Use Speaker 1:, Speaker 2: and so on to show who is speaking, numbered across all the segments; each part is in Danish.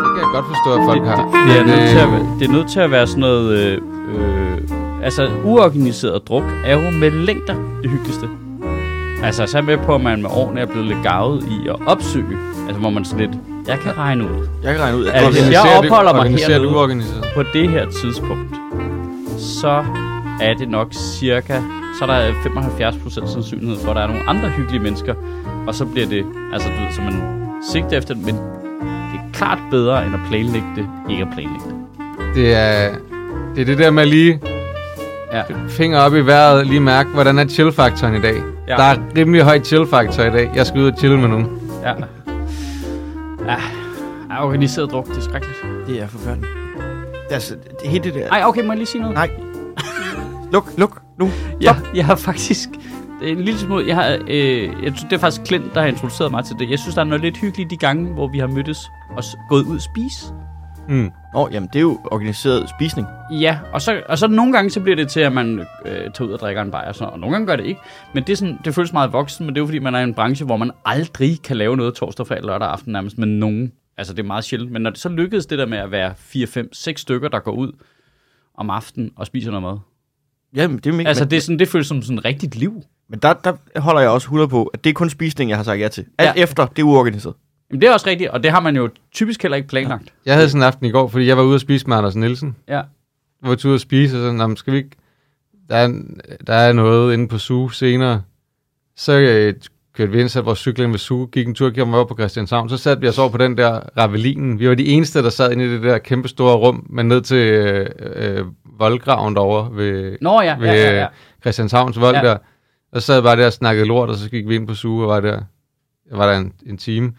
Speaker 1: Det kan jeg godt forstå, at folk
Speaker 2: det,
Speaker 1: har.
Speaker 2: det, det, er
Speaker 1: Men,
Speaker 2: nødt til at,
Speaker 1: øh,
Speaker 2: være- det er nødt til at være sådan noget... Øh, øh, altså, uorganiseret druk er jo med længder det hyggeligste. Altså, så er jeg med på, at man med årene er blevet lidt gavet i at opsøge. Altså, hvor man sådan lidt... Jeg kan regne ud
Speaker 1: Jeg kan regne ud,
Speaker 2: Altså, hvis jeg
Speaker 1: organiserer
Speaker 2: opholder mig
Speaker 1: organiserer
Speaker 2: hernede-
Speaker 1: det uorganiseret.
Speaker 2: på det her tidspunkt. Så er det nok cirka... Så er der 75% sandsynlighed for, at der er nogle andre hyggelige mennesker. Og så bliver det... Altså, du ved, så man sigter efter det, men det er klart bedre, end at planlægge det, ikke at planlægge det.
Speaker 1: Det er, det er det der med lige
Speaker 2: Ja.
Speaker 1: finger op i vejret, lige mærke, hvordan er chill-faktoren i dag.
Speaker 2: Ja.
Speaker 1: Ja. Der er rimelig høj chill-faktor i dag. Jeg skal ud og chille med nogen.
Speaker 2: Ja. Ja, ja organiseret druk, det er skrækkeligt.
Speaker 3: Det er forfærdeligt. Altså, det, hele det der...
Speaker 2: Ej, okay, må jeg lige sige noget?
Speaker 3: Nej. Luk, luk, nu.
Speaker 2: Ja, jeg har faktisk... Det er en lille smule... Jeg har, øh, jeg, tror, det er faktisk Klint, der har introduceret mig til det. Jeg synes, der er noget lidt hyggeligt de gange, hvor vi har mødtes og s- gået ud og spise.
Speaker 1: Mm.
Speaker 3: Åh, oh, jamen det er jo organiseret spisning.
Speaker 2: Ja, og så, og så nogle gange, så bliver det til, at man øh, tager ud og drikker en bajer, og, sådan, noget, og nogle gange gør det ikke. Men det, er sådan, det føles meget voksen, men det er jo, fordi man er i en branche, hvor man aldrig kan lave noget torsdag, fredag, lørdag aften nærmest med nogen. Altså, det er meget sjældent. Men når det så lykkedes det der med at være 4, 5, 6 stykker, der går ud om aftenen og spiser noget mad.
Speaker 3: Jamen, det er mega,
Speaker 2: Altså,
Speaker 3: altså,
Speaker 2: det, er sådan, det føles som sådan et rigtigt liv.
Speaker 3: men der, der holder jeg også 100 på, at det er kun spisning, jeg har sagt ja til. Alt
Speaker 2: Ja.
Speaker 3: ja. efter, det er uorganiseret.
Speaker 2: Jamen, det er også rigtigt, og det har man jo typisk heller ikke planlagt.
Speaker 1: Jeg havde sådan en aften i går, fordi jeg var ude og spise med Anders Nielsen.
Speaker 2: Ja.
Speaker 1: Vi var ude og spise, og sådan, "Nå, men skal vi ikke... Der er, der er noget inde på Zoo senere. Så øh, kørte vi ind, satte vores cykling ved Zoo, gik en tur, gik mig op på Christianshavn. Så satte vi os over på den der Ravelinen. Vi var de eneste, der sad inde i det der kæmpe store rum, men ned til øh, øh, voldgraven derovre ved,
Speaker 2: Nå ja,
Speaker 1: ved
Speaker 2: ja, ja, ja.
Speaker 1: Christianshavns vold
Speaker 2: Ja.
Speaker 1: ja. der. Og så sad jeg bare der og snakkede lort, og så gik vi ind på suge og var der, jeg var der en, en time.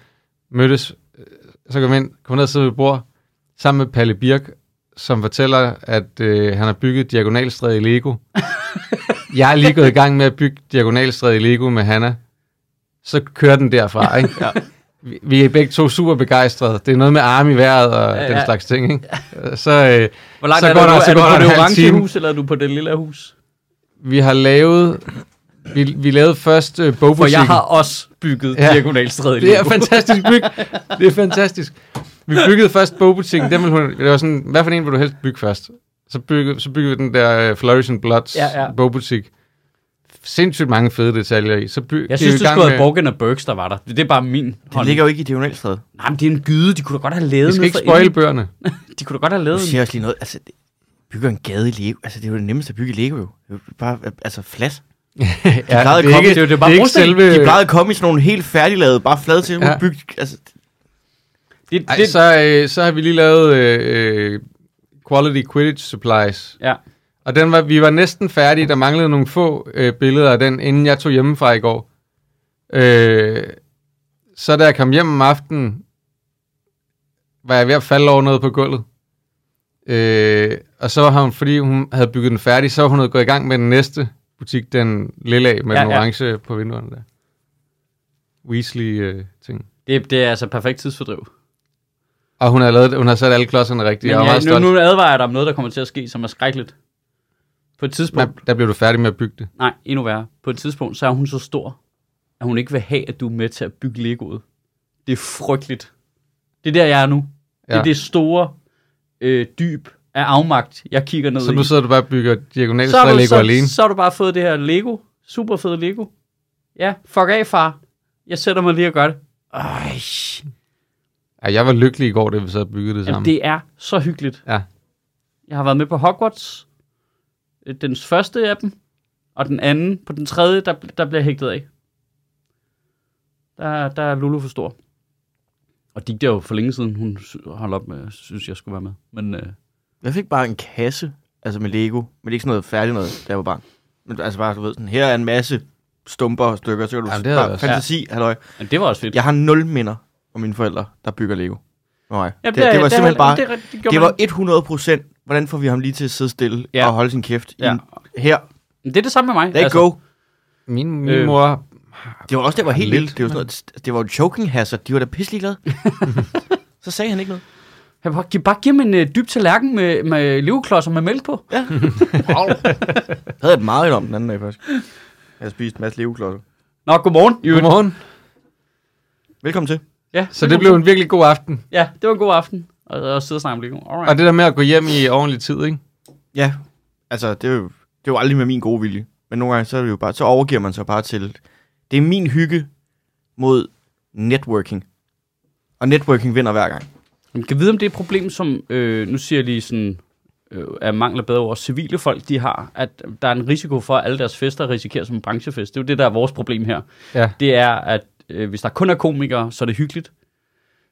Speaker 1: Mødtes, øh, så kom jeg ind, kom ned og sidde ved et bord, sammen med Palle Birk, som fortæller, at øh, han har bygget Diagonalstræde i Lego. jeg er lige gået i gang med at bygge Diagonalstræde i Lego med Hanna. Så kører den derfra, ikke?
Speaker 3: Ja.
Speaker 1: Vi- Vi er begge to super begejstrede. Det er noget med arme i vejret og
Speaker 2: Ja,
Speaker 1: ja, ja.
Speaker 2: ja.
Speaker 1: den slags ting, ikke? Så øh,
Speaker 2: Hvor langt
Speaker 1: Så
Speaker 2: er du?
Speaker 1: går der- så
Speaker 2: Er du
Speaker 1: går der
Speaker 2: på
Speaker 1: en
Speaker 2: det
Speaker 1: halv
Speaker 2: orange
Speaker 1: time.
Speaker 2: hus, eller er du på det lille hus?
Speaker 1: vi har lavet... Vi, vi lavede først øh, bogbutikken.
Speaker 2: For jeg har også bygget ja.
Speaker 1: Ja.
Speaker 2: diagonalstræde i
Speaker 1: Det er
Speaker 2: Lego.
Speaker 1: fantastisk byg. Det er fantastisk. Vi byggede først bogbutikken. Den ville hun, det var sådan, hvad for en vil du helst bygge først? Så byggede, så byggede vi den der øh, Flourish and Bloods
Speaker 2: Ja,
Speaker 1: ja,
Speaker 2: ja.
Speaker 1: ja. bogbutik. Sindssygt mange fede detaljer i. Så byg,
Speaker 2: Jeg synes, du skulle have Borgen og Burks, der var der. Det er bare min
Speaker 3: Det
Speaker 2: hånd.
Speaker 3: ligger jo ikke i diagonalstræde.
Speaker 2: Nej, men det er en gyde. De kunne da godt have
Speaker 1: Vi
Speaker 2: lavet
Speaker 1: skal
Speaker 2: noget
Speaker 1: ikke
Speaker 2: for
Speaker 1: spoil
Speaker 2: inden.
Speaker 1: bøgerne.
Speaker 2: De kunne da godt have
Speaker 3: Du
Speaker 2: lavet
Speaker 3: siger også lige noget, altså, det, bygger en gade i Lego. Altså, det er jo det nemmeste at bygge i Lego, jo. Det er jo Bare, altså, flat.
Speaker 1: Ja,
Speaker 3: plejede at
Speaker 1: det er
Speaker 3: komme-
Speaker 1: ikke,
Speaker 3: det er jo-
Speaker 2: det er bare
Speaker 1: det er ikke
Speaker 2: brosten.
Speaker 1: selve...
Speaker 3: De plejede at komme i sådan nogle helt færdiglavede, bare flade til ja.
Speaker 1: Øh. Ja.
Speaker 3: bygge, altså,
Speaker 2: Det, det,
Speaker 1: Ej, så, øh, så har vi lige lavet øh, øh, Quality Quidditch Supplies.
Speaker 2: Ja.
Speaker 1: Og den var, vi var næsten færdige. Der manglede nogle få øh, billeder af den, inden jeg tog hjemmefra i går. Øh, så da jeg kom hjem om aftenen, var jeg ved at falde over noget på gulvet. Øh, og så var hun, fordi hun havde bygget den færdig, så var hun gået i gang med den næste butik, den lille af med
Speaker 2: Ja,
Speaker 1: ja, den
Speaker 2: ja.
Speaker 1: orange på vinduerne der. øh, Weasley-ting.
Speaker 2: det, det er altså perfekt tidsfordriv.
Speaker 1: og hun har, lavet, hun har sat alle klodserne rigtigt.
Speaker 2: Men
Speaker 1: Jeg var
Speaker 2: ja,
Speaker 1: meget
Speaker 2: nu,
Speaker 1: stolt.
Speaker 2: nu advarer jeg dig om noget, der kommer til at ske, som er skrækkeligt. På et tidspunkt...
Speaker 1: Man, der blev du færdig med at bygge det.
Speaker 2: Nej, endnu værre. På et tidspunkt, så er hun så stor, at hun ikke vil have, at du er med til at bygge Legoet. Det er frygteligt. Det er der, jeg er nu. Ja. Det
Speaker 1: Ja.
Speaker 2: er det store øh, dyb af afmagt, jeg kigger ned
Speaker 1: Så
Speaker 2: i.
Speaker 1: nu sidder du bare og bygger diagonalt
Speaker 2: så, har
Speaker 1: så
Speaker 2: du,
Speaker 1: Lego
Speaker 2: så,
Speaker 1: alene.
Speaker 2: så har du bare fået det her Lego. Super fede Lego. Ja, fuck af, far. Jeg sætter mig lige og gør det. Øj,
Speaker 1: Ja, jeg var lykkelig i går, da vi sad og byggede det
Speaker 2: jamen,
Speaker 1: sammen.
Speaker 2: det er så hyggeligt.
Speaker 1: Ja.
Speaker 2: Jeg har været med på Hogwarts. Øh, Den første af dem. Og den anden. På den tredje, der, der bliver jeg hægtet af. Der, der er Lulu for stor. Og Digte er jo for længe siden, hun sy- holdt op med, at synes, jeg skulle være med. Men øh,
Speaker 3: Jeg fik bare en kasse, altså med Lego, men ikke sådan noget færdigt noget, da jeg var barn. Men altså bare, du ved, sådan, her er en masse stumper og stykker, så kan du
Speaker 1: Jamen,
Speaker 3: Jamen,
Speaker 1: det har jeg
Speaker 3: bare,
Speaker 1: også.
Speaker 3: fantasi, ja. halløj.
Speaker 2: men det var også fedt.
Speaker 3: Jeg har nul minder om mine forældre, der bygger Lego. Nej,
Speaker 2: Jamen,
Speaker 3: det, det, var simpelthen bare,
Speaker 2: Det,
Speaker 3: det,
Speaker 2: det, det, gjorde
Speaker 3: det
Speaker 2: man-
Speaker 3: var 100 procent, hvordan får vi ham lige til at sidde stille
Speaker 2: Ja.
Speaker 3: ja. og holde sin kæft?
Speaker 2: Ja.
Speaker 3: Ja. I, en- her,
Speaker 2: Men det er det samme med mig.
Speaker 3: there altså, go.
Speaker 1: Min, min
Speaker 2: Øh,
Speaker 1: øh, mor...
Speaker 3: Det var også, det var helt
Speaker 1: Lidt,
Speaker 3: vildt. Det var, sådan noget, det var jo choking hazard, de var da pisselig glade. så sagde han ikke noget.
Speaker 2: Han bare, giv, bare giv mig en øh, dyb tallerken med, med leverklodser med mælk på.
Speaker 3: Ja. wow. Jeg havde et meget om den anden dag, faktisk. Jeg har spist en masse leveklodser.
Speaker 2: Nå, godmorgen. Jørgen.
Speaker 1: Godmorgen.
Speaker 3: Velkommen til.
Speaker 2: Ja,
Speaker 1: Så det blev en virkelig god aften.
Speaker 2: Ja, det var en god aften. Og, og sidde og snakke om Lego.
Speaker 1: Og
Speaker 2: Alright.
Speaker 1: det der med at gå hjem i ordentlig tid, ikke?
Speaker 3: Ja, altså det er, jo, det er jo aldrig med min gode vilje. Men nogle gange, så, er det jo bare, så overgiver man sig bare til, det er min hygge mod networking. Og networking vinder hver gang.
Speaker 2: Man kan vide, om det er et problem, som, øh, nu siger jeg lige sådan, øh, er mangler bedre ord, civile folk, de har, at der er en risiko for, at alle deres fester risikerer som en branchefest. Det er jo det, der er vores problem her.
Speaker 1: Ja.
Speaker 2: det er, at øh, hvis der kun er komikere, så er det hyggeligt.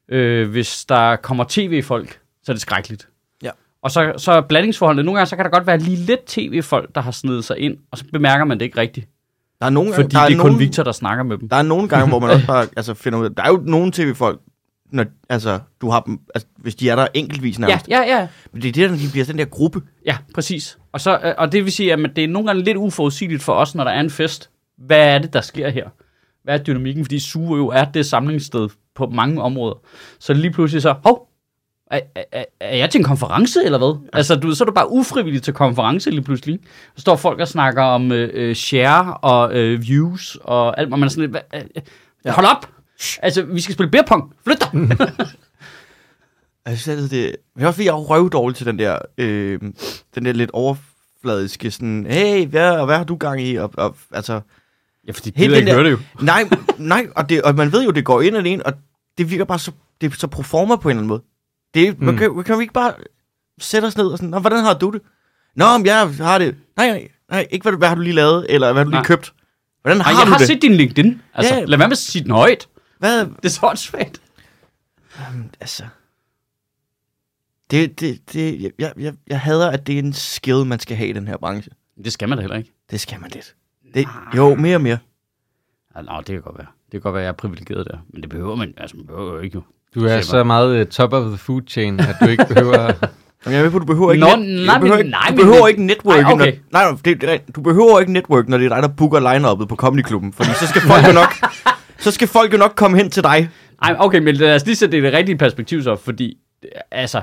Speaker 2: Øh, hvis der kommer tv-folk, så er det skrækkeligt.
Speaker 3: Ja.
Speaker 2: Og så, så er blandingsforholdet. Nogle gange så kan der godt være lige lidt tv-folk, der har snedet sig ind, og så bemærker man det ikke rigtigt.
Speaker 3: Der er nogle gange,
Speaker 2: Fordi
Speaker 3: der er
Speaker 2: det er kun
Speaker 3: nogle,
Speaker 2: Victor, der snakker med dem.
Speaker 3: Der er nogle gange, hvor man også bare altså, finder ud af, der er jo nogle tv-folk, når, altså, du har dem, altså, hvis de er der enkeltvis
Speaker 2: Ja,
Speaker 3: nærmest.
Speaker 2: ja, ja.
Speaker 3: Ja. Men det er det, når de bliver sådan der gruppe.
Speaker 2: Ja, præcis. Og, så, øh, og det vil sige, at det er nogle gange lidt uforudsigeligt for os, når der er en fest. Hvad er det, der sker her? Hvad er dynamikken? Fordi Suge jo er det samlingssted på mange områder. Så lige pludselig så, hov, er, er, er jeg til en konference, eller hvad? Ja. Altså, du, ved, så er du bare ufrivillig til konference lige pludselig. Så står folk og snakker om øh, øh, share og øh, views og alt, og man er sådan lidt, hvad, øh, øh, hold op! Altså, vi skal spille beer pong. Flyt dig!
Speaker 3: Altså, så er det, det, men det er også fordi, jeg er røvdårlig til den der, øh, den der lidt overfladiske sådan, hey, hvad, og hvad har du gang i? Og, og, altså,
Speaker 2: Ja, fordi
Speaker 3: Helt
Speaker 1: gider
Speaker 3: den
Speaker 1: ikke
Speaker 3: der-
Speaker 1: høre det jo.
Speaker 3: Nej, nej og, det, og man ved jo, det går ind og ind, og det virker bare så, det er så proforma på en eller anden måde. Det, mm. man
Speaker 1: Mm.
Speaker 3: kan, kan vi ikke bare sætte os ned og sådan, Nå, hvordan har du det? Nå, men jeg har det. Nej, nej, nej ikke hvad, du- hvad har du lige lavet, eller hvad har du lige
Speaker 2: Nej.
Speaker 3: købt? Hvordan
Speaker 2: Ej,
Speaker 3: har
Speaker 2: jeg
Speaker 3: du
Speaker 2: har
Speaker 3: det?
Speaker 2: set din LinkedIn. Altså,
Speaker 3: Ja.
Speaker 2: yeah. lad være med at sige den højt.
Speaker 3: Hvad,
Speaker 2: Det er så svært.
Speaker 3: altså... Det, det, det, jeg- jeg, jeg, jeg hader, at det er en skill, man skal have i den her branche.
Speaker 2: Det skal man da heller ikke.
Speaker 3: Det skal man lidt. Det, jo, mere og mere.
Speaker 2: Ja, Ah, nå, det kan godt være. Det kan godt være, at jeg er privilegeret der. Men det behøver man, altså, man behøver jo ikke jo.
Speaker 1: Du er
Speaker 2: Shepard.
Speaker 1: så meget øh, top of the food chain, at du ikke behøver...
Speaker 3: Jamen, jeg er med på, du behøver ikke,
Speaker 2: Nå,
Speaker 3: net,
Speaker 2: nej,
Speaker 3: du behøver
Speaker 2: men-
Speaker 3: ikke,
Speaker 2: nej,
Speaker 3: du
Speaker 2: men-
Speaker 3: behøver ikke network.
Speaker 2: Ej, okay.
Speaker 3: når, nej, nej, det, det, er rent. du behøver ikke network, når det er dig, der booker line-uppet på Comedy Klubben. Fordi så skal folk jo nok, så skal folk jo nok komme hen til dig.
Speaker 2: Ej, okay, men lad os lige sætte det i det rigtige perspektiv så, fordi, øh, altså,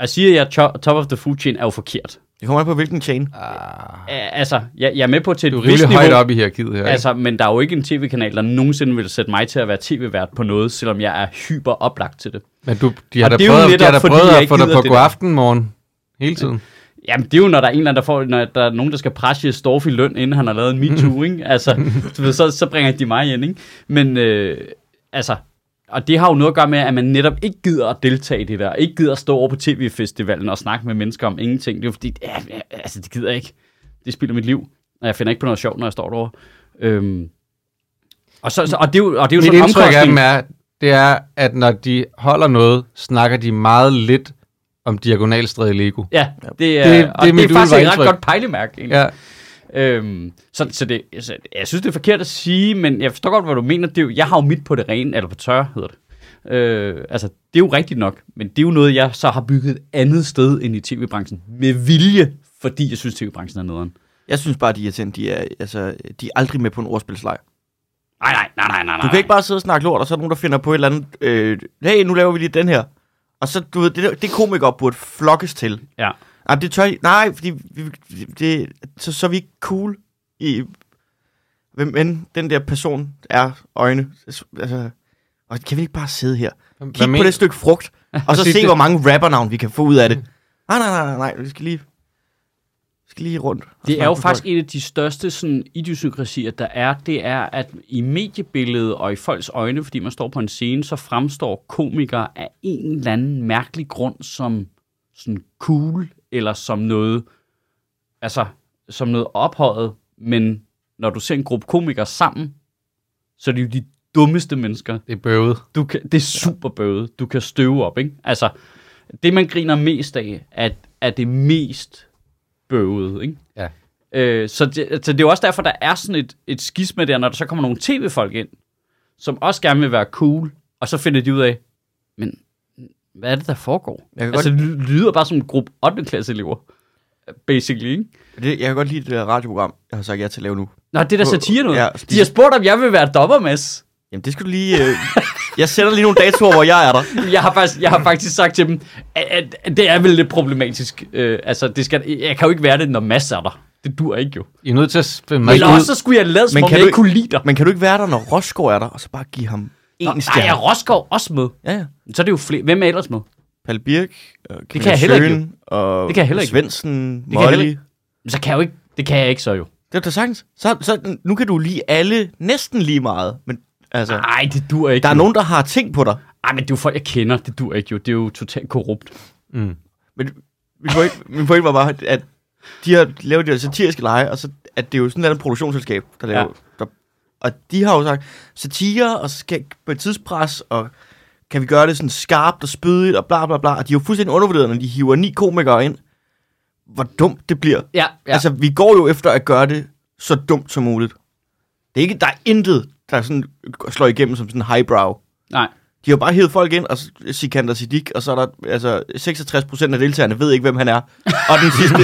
Speaker 2: at sige, at jeg er cho- top of the food chain, er jo forkert.
Speaker 3: Det kommer an på, hvilken chain.
Speaker 1: Ah,
Speaker 2: Æ, altså, jeg, jeg er med på til
Speaker 1: du er
Speaker 2: et vist
Speaker 1: rimelig
Speaker 2: niveau,
Speaker 1: højt op i hierarkiet her, altså,
Speaker 2: altså, men der er jo ikke en tv-kanal, der nogensinde vil sætte mig til at være tv-vært på noget, selvom jeg er hyper oplagt til det.
Speaker 1: Men du, de har
Speaker 2: Og
Speaker 1: da
Speaker 2: det er jo
Speaker 1: prøvet, de
Speaker 2: netop,
Speaker 1: har da
Speaker 2: fordi
Speaker 1: prøvet
Speaker 2: jeg
Speaker 1: at
Speaker 2: ikke
Speaker 1: få dig
Speaker 2: gider
Speaker 1: på
Speaker 2: det
Speaker 1: god
Speaker 2: der.
Speaker 1: aften morgen hele tiden.
Speaker 2: Jamen, det er jo, når der er en eller anden, der får, når der er nogen, der skal presse Storff i løn, inden han har lavet en MeToo, ikke? Altså, du ved, så, så bringer de mig ind, ikke? Men, øh, altså, og det har jo noget at gøre med, at man netop ikke gider at deltage i det der, ikke gider at stå over på tv-festivalen og snakke med mennesker om ingenting. Det er jo fordi, ja, ja, altså, det gider jeg ikke. Det spilder mit liv, og jeg finder ikke på noget sjovt, når jeg står derovre. Øhm, og, så, så, og det er jo, og det er jo
Speaker 1: Mit
Speaker 2: sådan en
Speaker 1: indtryk af
Speaker 2: omkostning.
Speaker 1: dem er, det er, at når de holder noget, snakker de meget lidt om diagonalstræde Lego.
Speaker 2: Ja, det er,
Speaker 1: Det-
Speaker 2: det,
Speaker 1: det er
Speaker 2: det, og det er
Speaker 1: mit
Speaker 2: faktisk et ret
Speaker 1: udvalgsindtryk.
Speaker 2: godt pejlemærke, egentlig.
Speaker 1: Ja,
Speaker 2: Øhm, så, så, det, så jeg synes, det er forkert at sige, men jeg forstår godt, hvad du mener. Det er jo, jeg har jo mit på det rene, eller på tørre, hedder det. Øh, altså, det er jo rigtigt nok, men det er jo noget, jeg så har bygget et andet sted end i tv-branchen. Med vilje, fordi jeg synes, tv-branchen er nederen.
Speaker 3: Jeg synes bare, de er irriterende. De er, altså, de er aldrig med på en ordspilslejr.
Speaker 2: Nej, nej, nej, nej, nej.
Speaker 3: Du kan ikke bare sidde og snakke lort, og så er der nogen, der finder på et eller andet... Øh, hey, nu laver vi lige den her. Og så, du ved, det, der- det komikere burde flokkes til.
Speaker 2: Ja.
Speaker 3: Nej, det tør I- Nej, fordi vi, vi- det, så, så er vi ikke cool i... Hvem end den der person er øjne. Altså, og kan vi ikke bare sidde her? Kig på
Speaker 1: mener-
Speaker 3: det stykke frugt, og så
Speaker 1: Præcis,
Speaker 3: se,
Speaker 1: det-
Speaker 3: hvor mange rappernavn vi kan få ud af det. Nej, nej, nej, nej, nej. Vi skal lige, vi skal lige rundt. og
Speaker 2: Det er
Speaker 3: snakke
Speaker 2: jo
Speaker 3: med
Speaker 2: faktisk
Speaker 3: folk.
Speaker 2: en af de største sådan, idiosynkrasier, der er, det er, at i mediebilledet og i folks øjne, fordi man står på en scene, så fremstår komikere af en eller anden mærkelig grund som sådan cool, eller som noget, altså, som noget ophøjet, men når du ser en gruppe komikere sammen, så er det jo de dummeste mennesker,
Speaker 1: det er bøvet.
Speaker 2: du kan, det er super bøvet. Du kan støve op, ikke? Altså, det man griner mest af, er, er det mest bøvede, ikke?
Speaker 1: Ja.
Speaker 2: Øh, så, det, så det er jo også derfor, der er sådan et, et skisme der, når der så kommer nogle tv-folk ind, som også gerne vil være cool, og så finder de ud af, men hvad er det, der foregår?
Speaker 3: Jeg kan
Speaker 2: Altså, det ly- lyder bare som en gruppe 8. klasseelever, basically, ikke?
Speaker 3: Det, jeg kan godt lide det der radioprogram, jeg har sagt ja til at lave nu.
Speaker 2: Nå, det er da
Speaker 3: På-
Speaker 2: satire noget.
Speaker 3: ja,
Speaker 2: Ja,
Speaker 3: spis-
Speaker 2: de har spurgt, om jeg vil være dommer, Mads.
Speaker 3: Jamen, det skal du lige... Øh, jeg sætter lige nogle datoer, hvor jeg er der.
Speaker 2: jeg har faktisk, jeg har faktisk sagt til dem, at, at, at det er vel lidt problematisk. Øh, altså, det skal, jeg kan jo ikke være det, når Mads er der. Det dur ikke jo.
Speaker 1: I er nødt til at spille mig
Speaker 2: Men Eller
Speaker 1: ud.
Speaker 2: også så skulle jeg lade, som
Speaker 3: Men
Speaker 2: om
Speaker 3: kan
Speaker 2: jeg
Speaker 3: du
Speaker 2: ikke kunne lide dig.
Speaker 3: Men kan du ikke være der, når Rosgaard er der, og så bare give ham
Speaker 2: Nå,
Speaker 3: en
Speaker 2: Nej,
Speaker 3: stjerne?
Speaker 2: er Roskov også med?
Speaker 3: Ja, ja.
Speaker 2: Så er det jo flere. Hvem er ellers med?
Speaker 3: Palle Birk, og det
Speaker 2: kan jeg heller ikke,
Speaker 3: og
Speaker 2: Det kan jeg heller ikke.
Speaker 3: Svendsen,
Speaker 2: kan jeg heller
Speaker 3: Molly.
Speaker 2: ikke. Men så kan jeg jo ikke. Det kan jeg ikke så jo.
Speaker 3: Det er da sagtens. Så, så nu kan du lige alle næsten lige meget, men altså,
Speaker 2: Nej, det dur ikke.
Speaker 3: der er
Speaker 2: jo.
Speaker 3: nogen, der har ting på dig.
Speaker 2: Ej, men det er jo folk, jeg kender. Det dur ikke jo. Det er jo totalt korrupt.
Speaker 1: Mm.
Speaker 3: Men min pointe, min pointe var bare, at de har lavet de her satiriske lege, og så, at det er jo sådan et eller andet produktionsselskab, der laver...
Speaker 2: Ja.
Speaker 3: Ja. Der, og de har jo sagt, satire og skal på et tidspres, og kan vi gøre det sådan skarpt og spydigt og bla bla bla. Og de er jo fuldstændig undervurderet, når de hiver ni komikere ind. Hvor dumt det bliver.
Speaker 2: Ja,
Speaker 3: Ja. Altså, vi går jo efter at gøre det så dumt som muligt. Det er ikke, der er intet, der sådan slår igennem som sådan highbrow.
Speaker 2: Nej.
Speaker 3: De har bare hævet folk ind, og så Sikander Siddiq, og så er der altså 66 procent af deltagerne ved ikke, hvem han er. Og den sidste...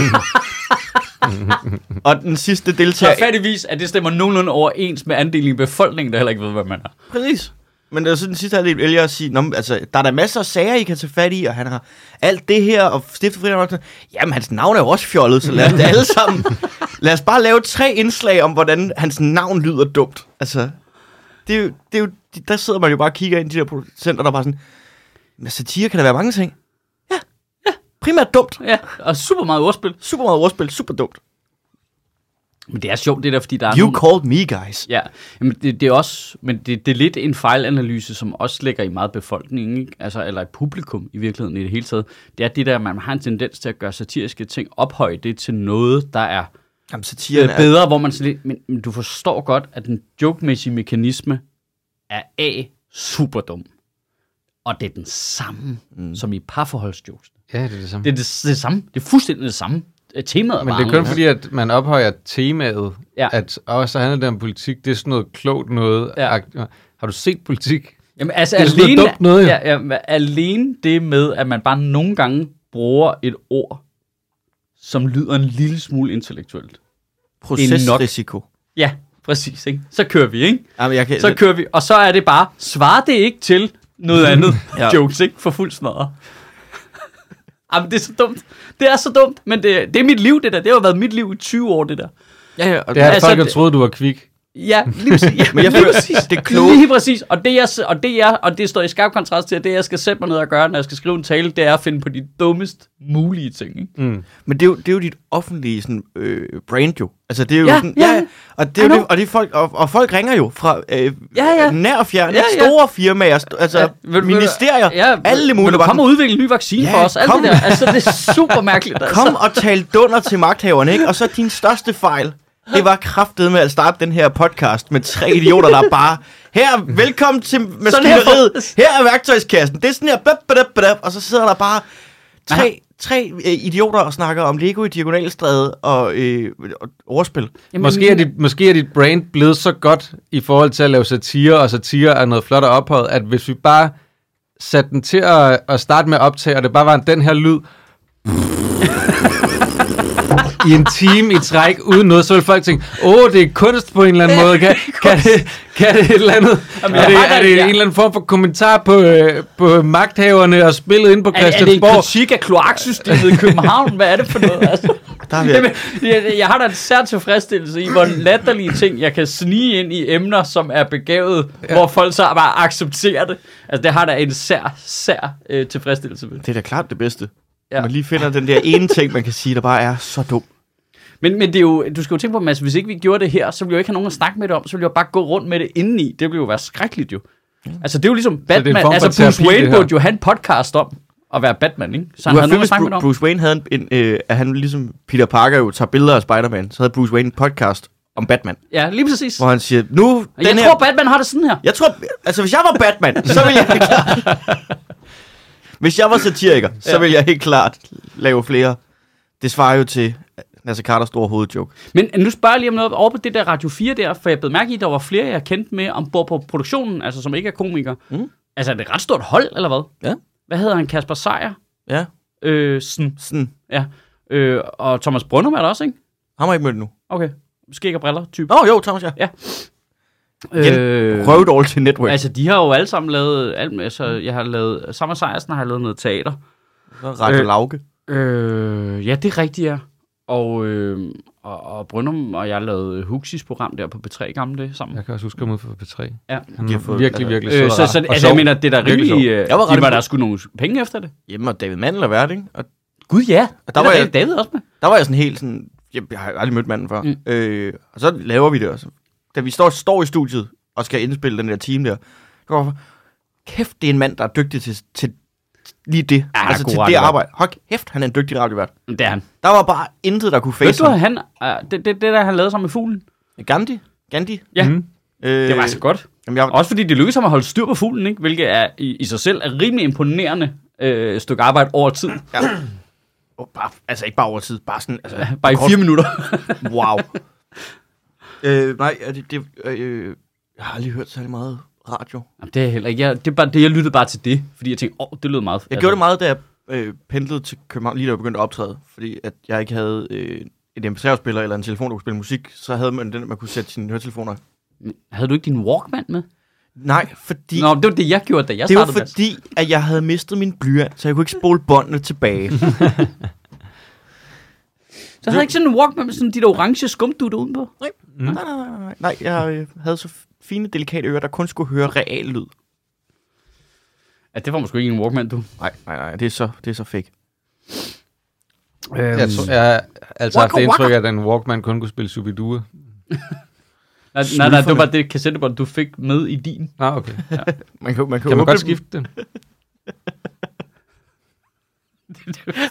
Speaker 3: og den sidste
Speaker 2: Så
Speaker 3: deltager...
Speaker 2: fattigvis, at det stemmer nogenlunde overens med andelen i befolkningen, der heller ikke ved, hvad man er.
Speaker 3: Præcis. Men det er så den sidste halvdel vælger at sige, Nå, men, altså, der er der masser af sager, I kan tage fat i, og han har alt det her, og stiftet frihed. Jamen, hans navn er jo også fjollet, så lad os det alle sammen. Lad os bare lave tre indslag om, hvordan hans navn lyder dumt. Altså, det er jo, det er jo, der sidder man jo bare og kigger ind i de der producenter, der er bare sådan, men satire kan der være mange ting. Ja, ja, primært dumt.
Speaker 2: Ja, og super meget ordspil.
Speaker 3: Super meget ordspil, super dumt.
Speaker 2: Men det er sjovt, det der, fordi der er
Speaker 3: You
Speaker 2: nogle-
Speaker 3: called me, guys.
Speaker 2: Ja, men det, det er også, men det, det er lidt en fejlanalyse, som også ligger i meget befolkningen, ikke? Altså, eller i publikum i virkeligheden i det hele taget. Det er det der, at man har en tendens til at gøre satiriske ting, ophøje det til noget, der er
Speaker 3: Jamen,
Speaker 2: øh,
Speaker 3: satiren er...
Speaker 2: bedre, hvor man sådan lidt, men, men du forstår godt, at den jokemæssige mekanisme er A, super dum. Og det er den samme, mm. som i parforholdsjokes.
Speaker 1: Ja, det er det samme.
Speaker 2: Det er det, det samme. Det er fuldstændig det samme. Øh, Temaet er
Speaker 1: Men
Speaker 2: bare
Speaker 1: det er kun
Speaker 2: anderledes.
Speaker 1: fordi, at man ophøjer temaet,
Speaker 2: Ja.
Speaker 1: ja. at og så handler det om politik, det er sådan noget klogt noget.
Speaker 2: Ja.
Speaker 1: Ja. Har du set politik?
Speaker 2: Jamen, altså,
Speaker 1: Det er sådan noget
Speaker 2: alene,
Speaker 1: dumt noget, jo.
Speaker 2: ja, ja, men alene det med, at man bare nogle gange bruger et ord, som lyder en lille smule intellektuelt.
Speaker 3: Procesrisiko.
Speaker 2: Ja, præcis. Ikke? Så kører vi, ikke?
Speaker 3: Jamen, jeg kan,
Speaker 2: Så kører vi, og så er det bare, svarer det ikke til noget andet ja.
Speaker 3: Ja.
Speaker 2: jokes, ikke? For fuld smadre. Jamen, det er så dumt. Det er så dumt, men det, det er mit liv, det der. Det har jo været mit liv i 20 år, det der.
Speaker 3: ja, ja, og,
Speaker 1: Det er,
Speaker 2: Altså,
Speaker 1: altså, folk har
Speaker 2: det-
Speaker 1: troet, du var kvik.
Speaker 2: Ja, lige præcis. Ja,
Speaker 3: Men jeg
Speaker 2: lige
Speaker 3: føler,
Speaker 2: præcis.
Speaker 3: det kloge-
Speaker 2: Lige præcis. Og det, jeg, og, det jeg, og det står i skarp kontrast til, at det, jeg skal sætte mig ned og gøre, når jeg skal skrive en tale, det er at finde på de dummest mulige ting. Ikke?
Speaker 1: Mm.
Speaker 3: Men det er jo, det er jo dit offentlige sådan, øh, brand jo. Altså det er jo
Speaker 2: Ja,
Speaker 3: sådan,
Speaker 2: ja,
Speaker 3: og
Speaker 2: I
Speaker 3: det er jo
Speaker 2: know.
Speaker 3: det, og det er folk og, og folk ringer jo fra øh,
Speaker 2: Ja, ja.
Speaker 3: nær og fjern,
Speaker 2: Ja,
Speaker 3: ja,
Speaker 2: ja.
Speaker 3: ja. store firmaer, st- altså
Speaker 2: Ja,
Speaker 3: ja,
Speaker 2: vil du-
Speaker 3: ministerier,
Speaker 2: Ja, vil-
Speaker 3: alle
Speaker 2: Vil
Speaker 3: mulige.
Speaker 2: du
Speaker 3: bare
Speaker 2: komme og udvikle en ny vaccine
Speaker 3: Ja,
Speaker 2: for os? Alt
Speaker 3: kom.
Speaker 2: det der. Altså, det er super mærkeligt.
Speaker 3: sådan,
Speaker 2: Altså.
Speaker 3: kom og tal dunder til magthaverne, ikke? Og så din største fejl. Det var kraftet med at starte den her podcast med tre idioter, der bare... Her, velkommen til maskineriet. Her er værktøjskassen. Det er sådan her... Bap, bap, bap, og så sidder der bare tre, tre øh, idioter og snakker om Lego i Diagonalstræde og, øh, og ordspil.
Speaker 2: Jamen,
Speaker 1: Måske er, dit, måske er dit brand blevet så godt i forhold til at lave satire, og satire er noget flot og ophøjet, at hvis vi bare satte den til at, at starte med at optage, og det bare var den her lyd, i en time i træk, uden noget, så ville folk tænke, åh, oh, det er kunst på en eller anden måde. Kan, kan, det, kan det et eller andet?
Speaker 2: Jamen,
Speaker 1: er
Speaker 2: jeg
Speaker 1: det,
Speaker 2: har da-
Speaker 1: er det
Speaker 2: ja.
Speaker 1: en eller anden form for kommentar på, øh, på magthaverne og spillet ind på
Speaker 2: Er, er det en
Speaker 1: Christiansborg?
Speaker 2: kritik af kloaksystemet i København? Hvad er det for noget? Altså?
Speaker 3: Der har vi
Speaker 2: Jamen, jeg, jeg har da en sær tilfredsstillelse i, hvor latterlige ting, jeg kan snige ind i emner, som er begavet, ja. hvor folk så bare accepterer det. Altså, det har da en sær, sær øh, tilfredsstillelse ved.
Speaker 3: Det er da klart det bedste.
Speaker 2: Ja.
Speaker 3: Ja. Man lige finder den der ene ting, man kan sige, der bare er så dum.
Speaker 2: Men, men det er jo, du skal jo tænke på, Mads, hvis ikke vi gjorde det her, så ville jeg jo ikke have nogen at snakke med det om, så ville jeg jo bare gå rundt med det indeni. Det ville jo være skrækkeligt jo. Altså, det er jo ligesom
Speaker 1: er en form
Speaker 2: Batman.
Speaker 1: for
Speaker 2: Altså,
Speaker 1: terapi,
Speaker 2: Bruce
Speaker 1: det
Speaker 2: Wayne
Speaker 1: her.
Speaker 2: burde jo have en podcast om at være Batman, ikke? Så han havde
Speaker 3: du har
Speaker 2: nogen at
Speaker 3: følt,
Speaker 2: snakke med det
Speaker 3: Bruce,
Speaker 2: om.
Speaker 3: Bruce Wayne havde en, en øh, at han ligesom Peter Parker jo tager billeder af Spider-Man, så havde Bruce Wayne en podcast om Batman,
Speaker 2: Ja, lige præcis.
Speaker 3: hvor han siger, nu, den
Speaker 2: Jeg
Speaker 3: her...
Speaker 2: tror, Batman har det sådan her.
Speaker 3: jeg tror, altså hvis jeg var Batman, så ville jeg helt klart... Hvis jeg var satiriker, så ville jeg helt klart lave flere. Det svarer jo til Nasser Carters store hovedjoke.
Speaker 2: Men nu spørger jeg lige om noget over på det der Radio 4 der, for jeg blev mærke i, at der var flere, jeg kendte med ombord på produktionen, altså som ikke er komikere. Mm.
Speaker 3: Mm.
Speaker 2: Altså er det et ret stort hold, eller hvad?
Speaker 3: Ja.
Speaker 2: Hvad hedder han? Kasper Sejer?
Speaker 3: Ja,
Speaker 2: Øh, sådan,
Speaker 3: sådan.
Speaker 2: ja. Øh, og Thomas Brøndum er der også, ikke?
Speaker 3: Ham har jeg ikke mødt nu.
Speaker 2: Okay. Skæg og briller, type.
Speaker 3: Nå jo, Thomas, ja. igen.
Speaker 2: Øh,
Speaker 3: Røv dårligt til network.
Speaker 2: altså, de har jo alle sammen lavet... Alt, altså, jeg har lavet... Sammen med Sejersen har jeg lavet noget teater.
Speaker 3: Så Radio
Speaker 2: øh,
Speaker 3: Lauke.
Speaker 2: Øh, ja, det er rigtigt, ja. Og, øh, og, og Brøndum og jeg lavede Huxis program der på B3 i gamle dage sammen.
Speaker 1: Jeg kan også huske ham ud fra P3.
Speaker 2: Ja.
Speaker 1: Han
Speaker 3: De
Speaker 1: er
Speaker 3: har fået-
Speaker 1: virkelig, virkelig sød
Speaker 2: Øh,
Speaker 1: og
Speaker 2: så
Speaker 1: rar.
Speaker 2: så
Speaker 1: Og
Speaker 2: altså,
Speaker 1: sjov.
Speaker 2: jeg mener, det er da
Speaker 1: Virkelig
Speaker 2: rimelig... Øh,
Speaker 3: Jeg var
Speaker 2: de var
Speaker 3: ret
Speaker 2: der
Speaker 3: imponeret.
Speaker 2: skulle nogle penge efter det.
Speaker 3: Hjemme og David Mandel og vært, ikke? Og
Speaker 2: Gud ja, og der var
Speaker 3: jeg-
Speaker 2: jeg... David også med.
Speaker 3: der var jeg sådan helt sådan, jeg, jeg har aldrig mødt manden før.
Speaker 2: Mm.
Speaker 3: Mm. Øh, og så laver vi det også. Da vi står, står i studiet og skal indspille den der time der, der var, kæft, det er en mand, der er dygtig til, til lige det.
Speaker 2: Ja,
Speaker 3: altså
Speaker 2: god
Speaker 3: til det
Speaker 2: radiovært.
Speaker 3: arbejde. Hold kæft, han er en dygtig radiovært.
Speaker 2: Men Det er han.
Speaker 3: Der var bare intet, der kunne
Speaker 2: Ved
Speaker 3: face
Speaker 2: du, at
Speaker 3: ham.
Speaker 2: han, øh, det, det, det der, han lavede sammen med fuglen,
Speaker 3: Gandhi? Gandhi?
Speaker 2: Ja.
Speaker 1: Mm.
Speaker 3: Øh,
Speaker 2: det var altså godt.
Speaker 3: Jamen, jeg,
Speaker 2: Også fordi det lykkedes ham at holde styr på fuglen, ikke? hvilket er i, i sig selv er rimelig imponerende øh, stykke arbejde over tid.
Speaker 3: oh, bare, altså ikke bare over tid, bare sådan, altså,
Speaker 2: Bare i
Speaker 3: kort-
Speaker 2: fire minutter.
Speaker 3: Wow. øh, nej, er det, det, øh, jeg har aldrig hørt særlig meget radio.
Speaker 2: Jamen, det er heller ikke. Jeg, det er bare, det, jeg lyttede bare til det, fordi jeg tænkte, åh, oh, det lød meget.
Speaker 3: Jeg altså, gjorde det meget, da jeg øh, pendlede til København, lige da jeg begyndte at optræde, fordi at jeg ikke havde øh, et MP3-spiller eller en telefon, der kunne spille musik, så havde man den, man kunne sætte sine høretelefoner. i.
Speaker 2: Havde du ikke din Walkman med?
Speaker 3: Nej, fordi...
Speaker 2: Nå, det var det, jeg gjorde, da jeg
Speaker 3: det var
Speaker 2: startede. med-
Speaker 3: fordi, at jeg havde mistet min blyant, så jeg kunne ikke spole båndene tilbage.
Speaker 2: Så havde jeg ikke sådan en Walkman med sådan de der orange skumdutter udenpå.
Speaker 3: nej,
Speaker 1: Mm-hmm.
Speaker 3: nej, nej, nej, nej. nej, jeg øh, havde så fine, delikate ører, der kun skulle høre real lyd.
Speaker 2: Ja, det var måske ikke en Walkman, du.
Speaker 3: Nej, nej, nej, det er så, det er så fake. Øhm.
Speaker 1: Jeg, tror, jeg har altså haft
Speaker 3: Waka
Speaker 1: det indtryk,
Speaker 3: waka.
Speaker 1: at en Walkman kun kunne spille Subidua.
Speaker 2: Nej, nej, nej, det var bare det kassettebånd, du fik med i din.
Speaker 1: Nå, okay.
Speaker 3: Man kan,
Speaker 1: Kan
Speaker 3: man
Speaker 1: man
Speaker 3: åbne
Speaker 1: godt
Speaker 3: dem.
Speaker 1: skifte den?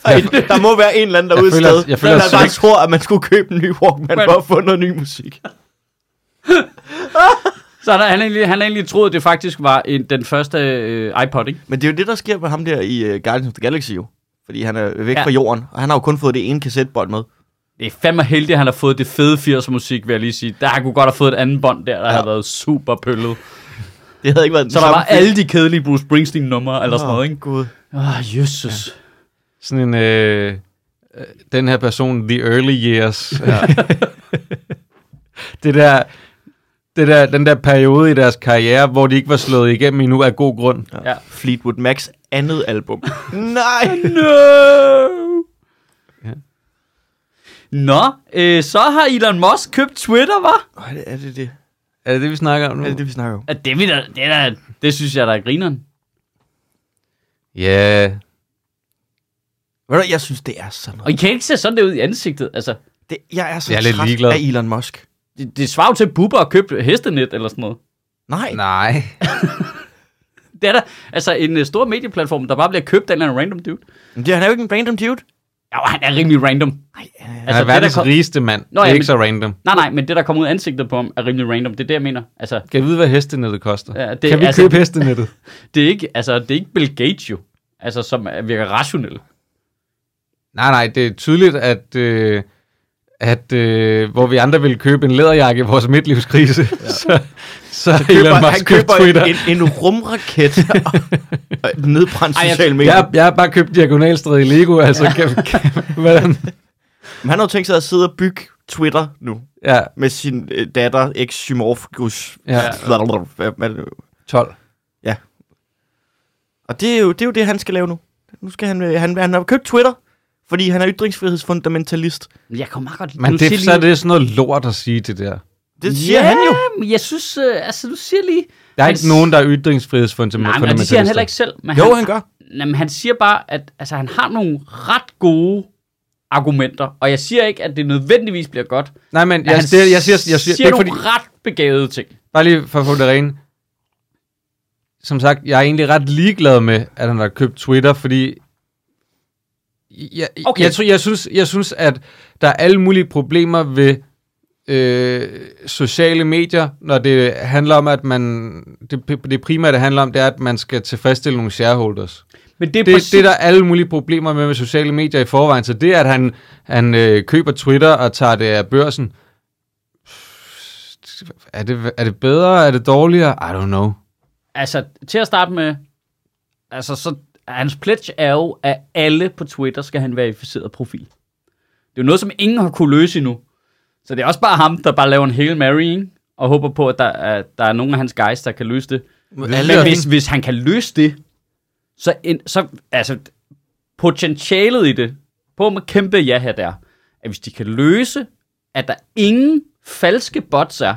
Speaker 3: Ej, der må være en eller anden
Speaker 1: Jeg
Speaker 3: derude et
Speaker 1: føler-
Speaker 3: sted,
Speaker 1: jeg føler
Speaker 3: der bare
Speaker 1: sygt.
Speaker 3: tror, at man skulle købe en ny Walkman
Speaker 2: Men-
Speaker 3: for at få noget ny musik.
Speaker 2: Så der, han, har egentlig, han har egentlig troet, at det faktisk var en, den første øh, iPod, ikke?
Speaker 3: Men det er jo det, der sker med ham der i uh, Guardians of the Galaxy jo. Fordi han er væk
Speaker 2: Ja.
Speaker 3: ja. fra jorden, og han har jo kun fået det ene kassettebånd med.
Speaker 2: Det er fandme heldigt, at han har fået det fede 80'er musik, vil jeg lige sige. Der han kunne godt have fået et andet bånd der, der ja. Ligesom havde været super pøllet.
Speaker 3: Det havde ikke været den
Speaker 2: Så der
Speaker 3: samme
Speaker 2: var alle de kedelige Bruce Springsteen-numre eller sådan noget, ikke?
Speaker 3: Gud.
Speaker 2: Åh, oh, jøsses.
Speaker 1: Sådan en... Øh, øh, den her person, The Early Years. Ja. det der... Det der, den der periode i deres karriere, hvor de ikke var slået igennem endnu af god grund.
Speaker 2: Ja.
Speaker 3: Ja. Fleetwood Macs andet album. Nej!
Speaker 2: No!
Speaker 1: Ja.
Speaker 2: Nå, øh, så har Elon Musk købt Twitter, var?
Speaker 3: Åh, Er det, er det det?
Speaker 1: Er det det, vi snakker om nu?
Speaker 3: Er
Speaker 2: Mm.
Speaker 3: det det, vi snakker om?
Speaker 2: Det, er vi da- det, er da- det synes jeg, der er grineren.
Speaker 1: Ja.
Speaker 3: Ved du, hvad, jeg synes, det er sådan
Speaker 2: Og
Speaker 3: noget.
Speaker 2: I kan ikke se sådan der ud i ansigtet. Altså,
Speaker 3: Det, jeg er så
Speaker 1: Jeg er lidt
Speaker 3: træt
Speaker 1: ligeglad.
Speaker 3: af Elon Musk.
Speaker 2: det, det svarer jo til at Bubber at købe hestenet eller sådan noget.
Speaker 3: Nej. Nej.
Speaker 1: Nej.
Speaker 2: Det er da altså en øh, stor medieplatform, der bare bliver købt af en eller anden random dude.
Speaker 3: Men det, han er jo ikke en random dude.
Speaker 2: Ja, han er rimelig random.
Speaker 3: Nej, han er-
Speaker 1: Han altså, er
Speaker 2: det, der
Speaker 1: verdens
Speaker 2: kom-
Speaker 1: rigeste mand.
Speaker 2: Nå,
Speaker 1: Nå, det
Speaker 2: ja,
Speaker 1: er
Speaker 2: men-
Speaker 1: ikke så random.
Speaker 2: Nej, nej, men det, der kommer ud af ansigtet på ham, er rimelig random. Det er det, jeg mener. Altså,
Speaker 1: Kan vi vide, hvad hestenettet koster?
Speaker 2: Ja,
Speaker 1: Ja,
Speaker 2: det-
Speaker 1: det, kan vi
Speaker 2: altså-
Speaker 1: altså, købe hestenettet?
Speaker 2: det er ikke, altså, det er ikke Bill Gates jo, altså, som er- virker rationel.
Speaker 1: Nej, nej, det er tydeligt, at, øh, at øh, hvor vi andre ville købe en læderjakke i vores midtlivskrise, ja. så, så, så køber, Elon Musk
Speaker 3: han køber
Speaker 1: købt Twitter.
Speaker 3: en, en rumraket og, og nedbrændt
Speaker 2: Ej, jeg-
Speaker 3: sociale medier.
Speaker 1: Jeg, jeg har bare købt diagonalstræde i Lego, altså ja. kan, kan, hvordan?
Speaker 3: Men han har jo tænkt sig at sidde og bygge Twitter nu.
Speaker 1: Ja,
Speaker 3: med sin øh, datter, ex-Symorphgus.
Speaker 1: Ja.
Speaker 3: Hvad- hvad er det nu?
Speaker 1: 12.
Speaker 3: Og det er, jo, det er jo det, han skal lave nu. Nu skal han, øh, han, han har købt Twitter, fordi han er ytringsfrihedsfundamentalist.
Speaker 2: Men Jeg kan meget godt...
Speaker 1: Men
Speaker 2: du
Speaker 1: det,
Speaker 2: siger
Speaker 1: så er det sådan noget lort at sige, det der.
Speaker 3: Det siger
Speaker 2: ja,
Speaker 3: han jo.
Speaker 2: men jeg synes, øh, altså, du siger lige...
Speaker 1: Der er
Speaker 2: Han
Speaker 1: ikke
Speaker 2: s-
Speaker 1: nogen, der er ytringsfrihedsfundamentalister.
Speaker 2: Nej, men og det siger han heller ikke selv. Men
Speaker 3: Jo,
Speaker 2: han,
Speaker 3: han gør.
Speaker 2: Nej, men han siger bare, at altså, han har nogle ret gode argumenter, og jeg siger ikke, at det nødvendigvis bliver godt.
Speaker 1: Nej, men jeg,
Speaker 2: han
Speaker 1: det, jeg, siger, jeg siger, det er
Speaker 2: siger
Speaker 1: ikke
Speaker 2: nogle
Speaker 1: fordi,
Speaker 2: fordi... ret begavede ting.
Speaker 1: Bare lige for at få det rene. Som sagt, jeg er egentlig ret ligeglad med, at han har købt Twitter, fordi jeg,
Speaker 2: Okay.
Speaker 1: okay. jeg, tror- jeg, synes, jeg synes, at der er alle mulige problemer ved øh, sociale medier, når det handler om, at man... Det, det primære, det handler om, det er, at man skal tilfredsstille nogle shareholders.
Speaker 2: Men det er
Speaker 1: Det,
Speaker 2: præcis...
Speaker 1: det er der alle mulige problemer med med sociale medier i forvejen, så det, at han, han øh, køber Twitter og tager det af børsen, er det, er det bedre, er det dårligere? I don't know.
Speaker 2: Altså, til at starte med, altså, så, hans pledge er jo, at alle på Twitter skal have en verificeret profil. Det er jo noget, som ingen har kunne løse endnu. Så det er også bare ham, der bare laver en Hail Mary, ikke? og håber på, at der, er, der er nogen af hans guys, der kan løse det.
Speaker 1: Alle
Speaker 2: Men
Speaker 1: er
Speaker 2: hvis, hvis han kan løse det, så, en, så altså, potentialet i det, på med kæmpe ja her der, at hvis de kan løse, at der ingen falske bots er,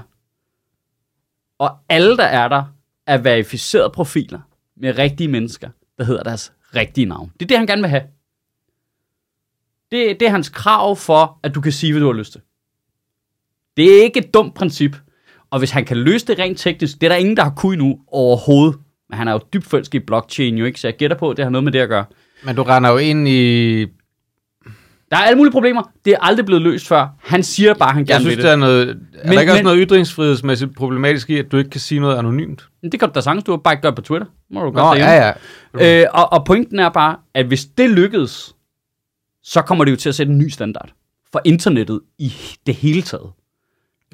Speaker 2: og alle, der er der, er verificerede profiler med rigtige mennesker, der hedder deres rigtige navn. Det er det, han gerne vil have. Det, det er hans krav for, at du kan sige, hvad du har lyst til. Det er ikke et dumt princip. Og hvis han kan løse det rent teknisk, det er der ingen, der har kunnet nu overhovedet. Men han er jo dybt forelsket i blockchain jo ikke, så jeg gætter på, at det har noget med det at gøre.
Speaker 1: Men du render jo ind i...
Speaker 2: Der er alle mulige problemer. Det er aldrig blevet løst før. Han siger bare, at han
Speaker 1: Jeg
Speaker 2: gerne
Speaker 1: synes,
Speaker 2: vil
Speaker 1: der
Speaker 2: det.
Speaker 1: er noget... er
Speaker 2: Men-
Speaker 1: der ikke også
Speaker 2: men-
Speaker 1: noget ytringsfrihedsmæssigt problematisk i, at du ikke kan sige noget anonymt?
Speaker 2: Men det kan du da sagtens, du har bare ikke gøre på Twitter. Må du godt
Speaker 1: Nå,
Speaker 2: derhjemme.
Speaker 1: ja, ja.
Speaker 2: Øh, og, og pointen er bare, at hvis det lykkedes, så kommer det jo til at sætte en ny standard for internettet i det hele taget.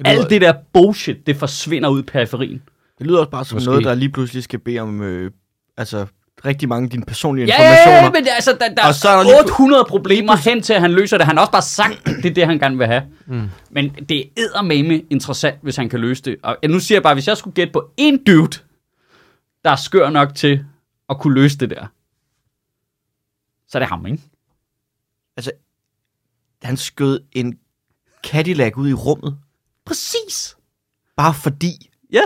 Speaker 2: Alt det der bullshit, det forsvinder ud i periferien.
Speaker 3: Det lyder også bare som
Speaker 1: Måske.
Speaker 3: Måske. noget, der lige pludselig skal bede om øh, altså, rigtig mange af dine personlige
Speaker 2: Ja,
Speaker 3: informationer.
Speaker 2: ja, men det- altså, der, der,
Speaker 3: Og så er
Speaker 2: er
Speaker 3: der lige pl-
Speaker 2: 800 problemer hen til, at han løser det. Han har også bare sagt, at det er det, han gerne vil have. Mm. Men det er eddermame interessant, hvis han kan løse det. Og nu siger jeg bare, hvis jeg skulle gætte på én dude, der er skør nok til at kunne løse det der, så er det ham, ikke?
Speaker 3: Altså, Han skød en Cadillac ud i rummet,
Speaker 2: Præcis!
Speaker 3: bare fordi
Speaker 2: Ja.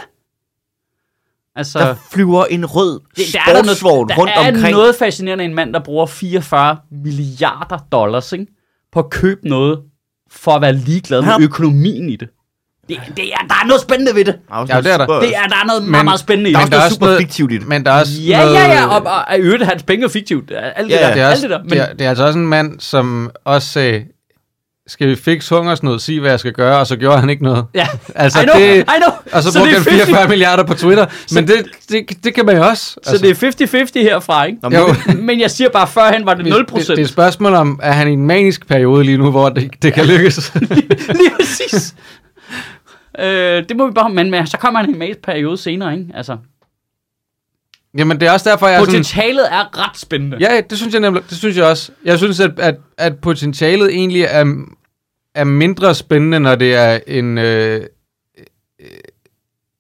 Speaker 2: Altså,
Speaker 3: der flyver en rød sportsvogn
Speaker 2: der
Speaker 3: rundt
Speaker 2: er
Speaker 3: omkring.
Speaker 2: noget fascinerende i en mand, der bruger 44 milliarder dollars ikke? på at købe noget, for at være ligeglad med
Speaker 3: Han har-
Speaker 2: økonomien i det. det, det er, der er noget spændende ved det.
Speaker 1: Ja, det er der.
Speaker 2: Det er, der er noget men, meget, meget spændende i
Speaker 3: der er
Speaker 2: det.
Speaker 3: også noget super fiktivt i det.
Speaker 1: Men der er også
Speaker 2: Ja,
Speaker 1: noget,
Speaker 2: ja, ja, og, og, og i øvrigt, hans penge er fiktivt. Alt det
Speaker 3: Ja,
Speaker 2: der,
Speaker 1: det er,
Speaker 2: alt
Speaker 1: også,
Speaker 2: det der. Men,
Speaker 1: det, er, det er altså også en mand, som også sagde, skal vi fikse hungersnød, sig hvad jeg skal gøre, og så gjorde han ikke noget.
Speaker 2: ja,
Speaker 1: Altså,
Speaker 2: I know,
Speaker 1: det-
Speaker 2: I know.
Speaker 1: Og så,
Speaker 2: Så
Speaker 1: så
Speaker 2: det
Speaker 1: brugte
Speaker 2: er
Speaker 1: han
Speaker 2: fishing.
Speaker 1: 44 milliarder på Twitter, men det, det, det kan man jo også. altså.
Speaker 2: Så det er 50-50 herfra, ikke?
Speaker 3: Nå,
Speaker 1: Jo.
Speaker 3: men,
Speaker 2: Men jeg siger bare, førhen var det 0%.
Speaker 1: Det, det er et spørgsmål om, er han i en manisk periode lige nu, hvor det, det kan lykkes?
Speaker 2: Lige præcis. øh, det må vi bare... Men, men så kommer han i en periode senere, ikke? Altså,
Speaker 1: Jamen, det er også derfor, jeg er sådan...
Speaker 2: potentialet er ret spændende.
Speaker 1: Ja, det synes jeg nemlig. Det synes jeg også. Jeg synes, at, at, at potentialet egentlig er, er mindre spændende, når det er en, øh, øh,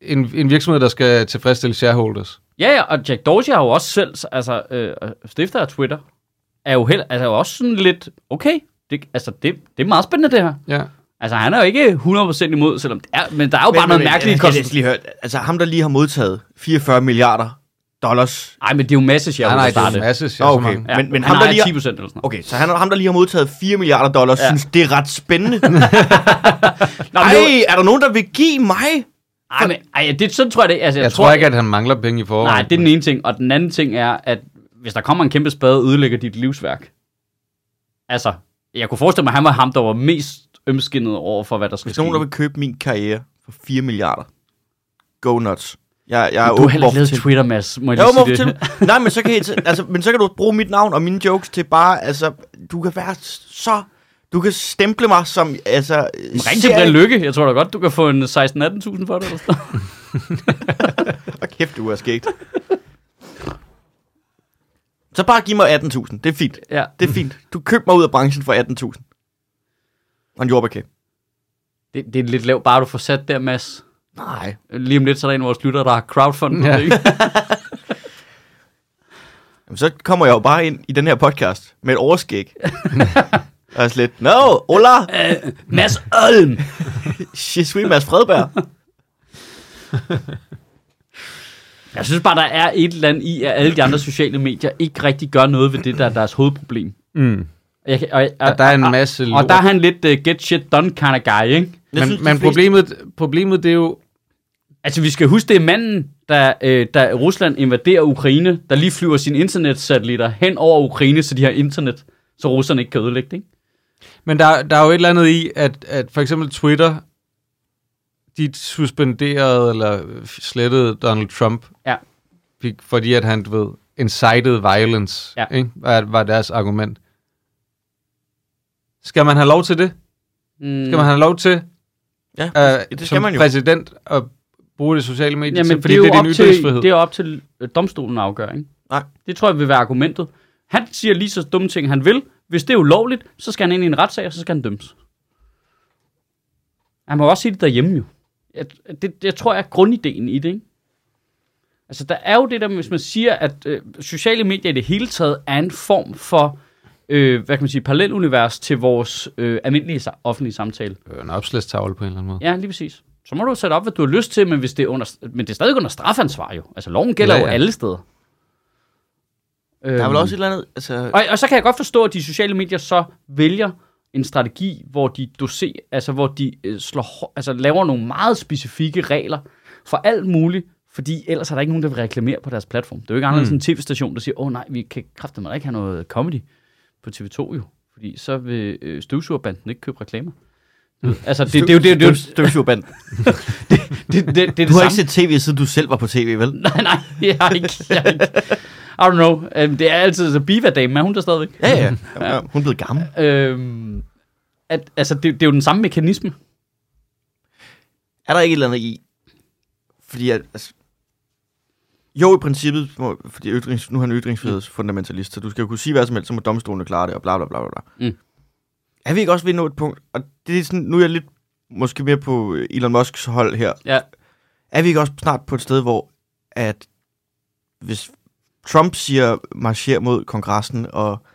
Speaker 1: en, en virksomhed, der skal tilfredsstille shareholders.
Speaker 2: ja, ja og Jack Dorsey har jo også selv... Altså, øh, stifter af Twitter er jo, heller, altså, er jo også sådan lidt... Okay, det, altså, det, det er meget spændende, det her.
Speaker 1: Ja.
Speaker 2: Altså, han er jo ikke 100% imod, selvom det er... Men der er jo bare noget mærkeligt i
Speaker 3: jeg, jeg,
Speaker 2: kosten.
Speaker 3: jeg, lige hørt. Altså ham, der lige har modtaget 44 milliarder dollars.
Speaker 2: Nej, men det er jo masse, jeg
Speaker 1: Nej, nej, det er
Speaker 2: har
Speaker 1: en
Speaker 2: det.
Speaker 1: masse
Speaker 3: Nå, okay.
Speaker 1: shareholder.
Speaker 2: Ja,
Speaker 3: Men- men
Speaker 2: han
Speaker 3: ham, der lige
Speaker 2: har 10%
Speaker 3: har-
Speaker 2: eller sådan noget.
Speaker 3: Okay, så han, ham, der lige har modtaget 4 milliarder dollars,
Speaker 2: Ja.
Speaker 3: ja. synes, det er ret spændende.
Speaker 2: Nå, men
Speaker 3: Ej,
Speaker 2: det var-
Speaker 3: er der nogen, der vil give mig?
Speaker 2: Ej, men, ej, det, sådan tror jeg det. Altså,
Speaker 1: Jeg tror ikke, at han mangler penge i forvejen.
Speaker 2: Nej, det er den ene ting. Og den anden ting er, at hvis der kommer en kæmpe spade og ødelægger dit livsværk. Altså, jeg kunne forestille mig, at han var ham, der var mest ømskindet over for, hvad der skulle
Speaker 3: Hvis nogen, der vil købe min karriere for 4 milliarder, go nuts. Jeg, jeg er
Speaker 2: Du har
Speaker 3: åben
Speaker 2: heller ikke
Speaker 3: over
Speaker 2: lavet
Speaker 3: for ting.
Speaker 2: Twitter, Mads, må jeg
Speaker 3: Jeg er
Speaker 2: lige
Speaker 3: åben over
Speaker 2: sige
Speaker 3: for
Speaker 2: det.
Speaker 3: ting. Nej, men så, kan I, altså, men så kan du bruge mit navn og mine jokes til bare, altså, du kan være så... Du kan stemple mig som, altså...
Speaker 2: Ring til Brian Lykke. Jeg tror da godt, du kan få en 16-18.000 for det. Eller sådan. noget.
Speaker 3: Og kæft, du er skægt. Så bare giv mig 18.000. Det er fint.
Speaker 2: ja.
Speaker 3: Det er fint. Du køb mig ud af branchen for 18.000. Og en jordbærkage.
Speaker 2: det, det, er lidt lavt, bare du får sat der, Mads.
Speaker 3: Nej.
Speaker 2: Lige om lidt, så er der en af vores lytter, der har crowdfundet.
Speaker 1: Ja.
Speaker 2: Ja. Det,
Speaker 3: Jamen, så kommer jeg jo bare ind i den her podcast med et overskæg. og slet, no, hola,
Speaker 2: Mads Ølm!
Speaker 3: je suis Mads Fredberg.
Speaker 2: Jeg synes bare, der er et eller andet i, at alle de andre sociale medier ikke rigtig gør noget ved det, der er deres hovedproblem.
Speaker 1: Mm.
Speaker 2: Jeg, kan- og, og,
Speaker 1: Og der er en masse
Speaker 2: Og
Speaker 1: lort.
Speaker 2: der er han lidt uh, get shit done kind of guy, ikke?
Speaker 3: Jeg synes,
Speaker 1: Men,
Speaker 3: de
Speaker 1: men
Speaker 3: fleste-
Speaker 1: problemet, problemet det er jo...
Speaker 2: Altså, vi skal huske, det er manden, der, øh, der Rusland invaderer Ukraine, der lige flyver sine internetsatellitter hen over Ukraine, så de har internet, så russerne ikke kan ødelægge det, ikke?
Speaker 1: Men der, der er jo et eller andet i, at, at for eksempel Twitter, de suspenderede eller slettede Donald Trump,
Speaker 2: Ja.
Speaker 1: fik- fordi at han, du ved, incited violence,
Speaker 2: Ja.
Speaker 1: ikke? Var, var deres argument. Skal man have lov til det?
Speaker 2: Mm.
Speaker 1: Skal man have lov til,
Speaker 3: Ja,
Speaker 1: øh,
Speaker 3: det skal
Speaker 1: som
Speaker 3: man jo.
Speaker 1: præsident, at bruge det sociale medier
Speaker 2: Jamen,
Speaker 1: til,
Speaker 2: det
Speaker 1: fordi
Speaker 2: er
Speaker 1: det
Speaker 2: jo
Speaker 1: er,
Speaker 2: op
Speaker 1: din
Speaker 2: til,
Speaker 1: ytringsfrihed?
Speaker 2: det er op til øh, domstolen at afgøre, ikke?
Speaker 3: Nej.
Speaker 2: Det tror jeg vil være argumentet. Han siger lige så dumme ting, han vil. Hvis det er ulovligt, så skal han ind i en retssag, og så skal han dømmes. Han må jo også sige det derhjemme jo. Jeg, det, jeg tror, jeg er grundideen i det, ikke? Altså, der er jo det der, med, hvis man siger, at øh, sociale medier i det hele taget er en form for øh, hvad kan man sige, parallelunivers til vores øh, almindelige sa-stavle samtale.
Speaker 1: Øh, en opslagstavle på en eller anden måde.
Speaker 2: Ja, lige præcis. Så må du sætte op, hvad du har lyst til, men, hvis det er under, men det er stadig under strafansvar jo. Altså, loven gælder ja,
Speaker 1: Ja,
Speaker 2: ja.
Speaker 1: ja.
Speaker 2: jo alle steder.
Speaker 3: Der er vel også et eller andet... Altså,
Speaker 2: Og, og så kan jeg godt forstå, at de sociale medier så vælger en strategi, hvor de doser, altså hvor de øh, slår, hår- altså laver nogle meget specifikke regler for alt muligt, fordi ellers er der ikke nogen, der vil reklamere på deres platform. Det er jo ikke anderledes mm. en tv-station, der siger, åh oh, nej, vi kan kræfte ikke have noget comedy på TV2 jo, fordi så vil øh, støvsugerbanden ikke købe reklamer. Altså, det, det, det, det, det, det,
Speaker 3: Støvsugerband.
Speaker 2: det, det, det, det, det
Speaker 3: Du har
Speaker 2: samme.
Speaker 3: ikke set tv, siden du selv var på tv, vel?
Speaker 2: Nej, nej, jeg har ikke. Jeg har ikke. I don't know. Øhm, det er altid så Biva-damen, er hun der stadigvæk?
Speaker 3: Ja, ja. ja. Hun er blevet gammel.
Speaker 2: Øhm, at, altså, det, det er jo den samme mekanisme.
Speaker 3: Er der ikke et eller andet i? Fordi at, altså, jo, i princippet, må, fordi ytrings, nu har han ytringsfrihedsfundamentalist, så du skal jo kunne sige hvad som helst, så må domstolene klare det, og bla bla bla bla. bla.
Speaker 2: Mm.
Speaker 3: Er vi ikke også ved at nå et punkt, og det er sådan, nu er jeg lidt måske mere på øh, Elon Musks hold her.
Speaker 2: Ja.
Speaker 3: Er vi ikke også snart på et sted, hvor at hvis Trump siger, marcher mod kongressen, og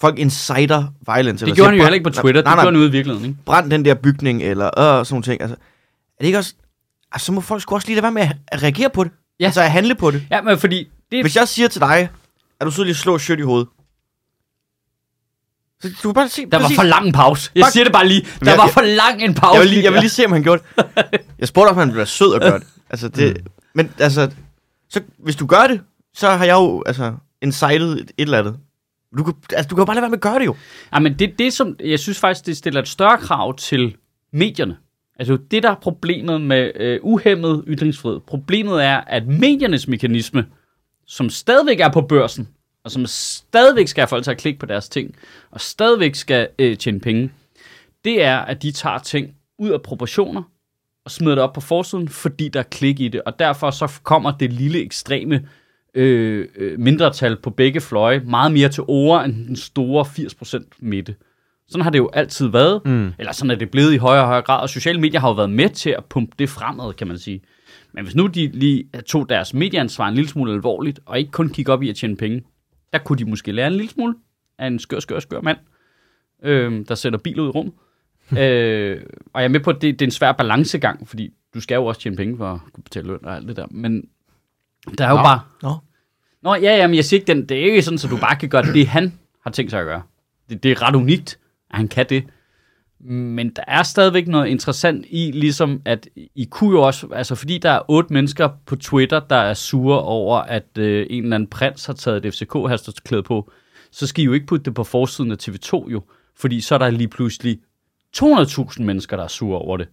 Speaker 3: folk inciter violence.
Speaker 2: Det gjorde han jo
Speaker 3: siger,
Speaker 2: heller ikke på
Speaker 3: "Brænd-
Speaker 2: Twitter.
Speaker 3: nej, nej,
Speaker 2: Det gjorde han ude i virkeligheden, ikke?
Speaker 3: brænd den der bygning, eller øh, sådan nogle ting. Altså, er det ikke også... Altså, så må folk sgu også lige lade være med at- at reagere på det.
Speaker 2: Ja.
Speaker 3: Ja. Altså at handle på det.
Speaker 2: Ja, men fordi... Det,
Speaker 3: Hvis jeg siger til dig, at du sidder lige og slår shit i hovedet. Så du kan bare se...
Speaker 2: der var for lang en pause. Jeg
Speaker 3: Fuck.
Speaker 2: siger det bare lige. Der
Speaker 3: jeg-
Speaker 2: var for lang en pause.
Speaker 3: jeg vil, lige, jeg vil lige se, om han gjorde det. Jeg spurgte, om han ville være sød at gøre det. Altså, det... Men altså... Så, hvis du gør det, så har jeg jo altså, incited et, et eller andet. Du kan, altså, du kan jo bare lade være med at gøre det jo.
Speaker 2: Ja, men det er det, som... Jeg synes faktisk, det stiller et større krav til medierne. Altså, det der er problemet med øh, uhemmet ytringsfrihed. Problemet er, at mediernes mekanisme, som stadigvæk er på børsen, og som stadigvæk skal have folk til at klikke på deres ting, og stadigvæk skal øh, tjene penge, det er, at de tager ting ud af proportioner, og smider det op på forsiden, fordi der er klik i det. Og derfor så kommer det lille ekstreme øh, øh, mindretal på begge fløje meget mere til ord end den store 80% midte. Sådan har det jo altid været, mm. eller sådan er det blevet i højere og højere grad, og sociale medier har jo været med til at pumpe det fremad, kan man sige. Men hvis nu de lige tog deres medieansvar en lille smule alvorligt, og ikke kun kigge op i at tjene penge, der kunne de måske lære en lille smule af en skør, skør, skør mand, øh, der sætter biler ud i rummet øh, og jeg er med på, at det, det er en svær balancegang, fordi du skal jo også tjene penge for at kunne betale løn og alt det der. Men der er jo
Speaker 1: Nå.
Speaker 2: bare...
Speaker 3: Nå.
Speaker 2: Nå, ja, ja, men jeg siger ikke, den, det er ikke sådan, at du bare kan gøre det, han har tænkt sig at gøre. Det, det er ret unikt, at han kan det. Men der er stadigvæk noget interessant i, ligesom at I kunne jo også, altså fordi der er otte mennesker på Twitter, der er sure over, at øh, en eller anden prins har taget et FCK-halsterklæde på, så skal I jo ikke putte det på forsiden af TV2 jo, fordi så er der lige pludselig 200.000 mennesker, der er sure over det.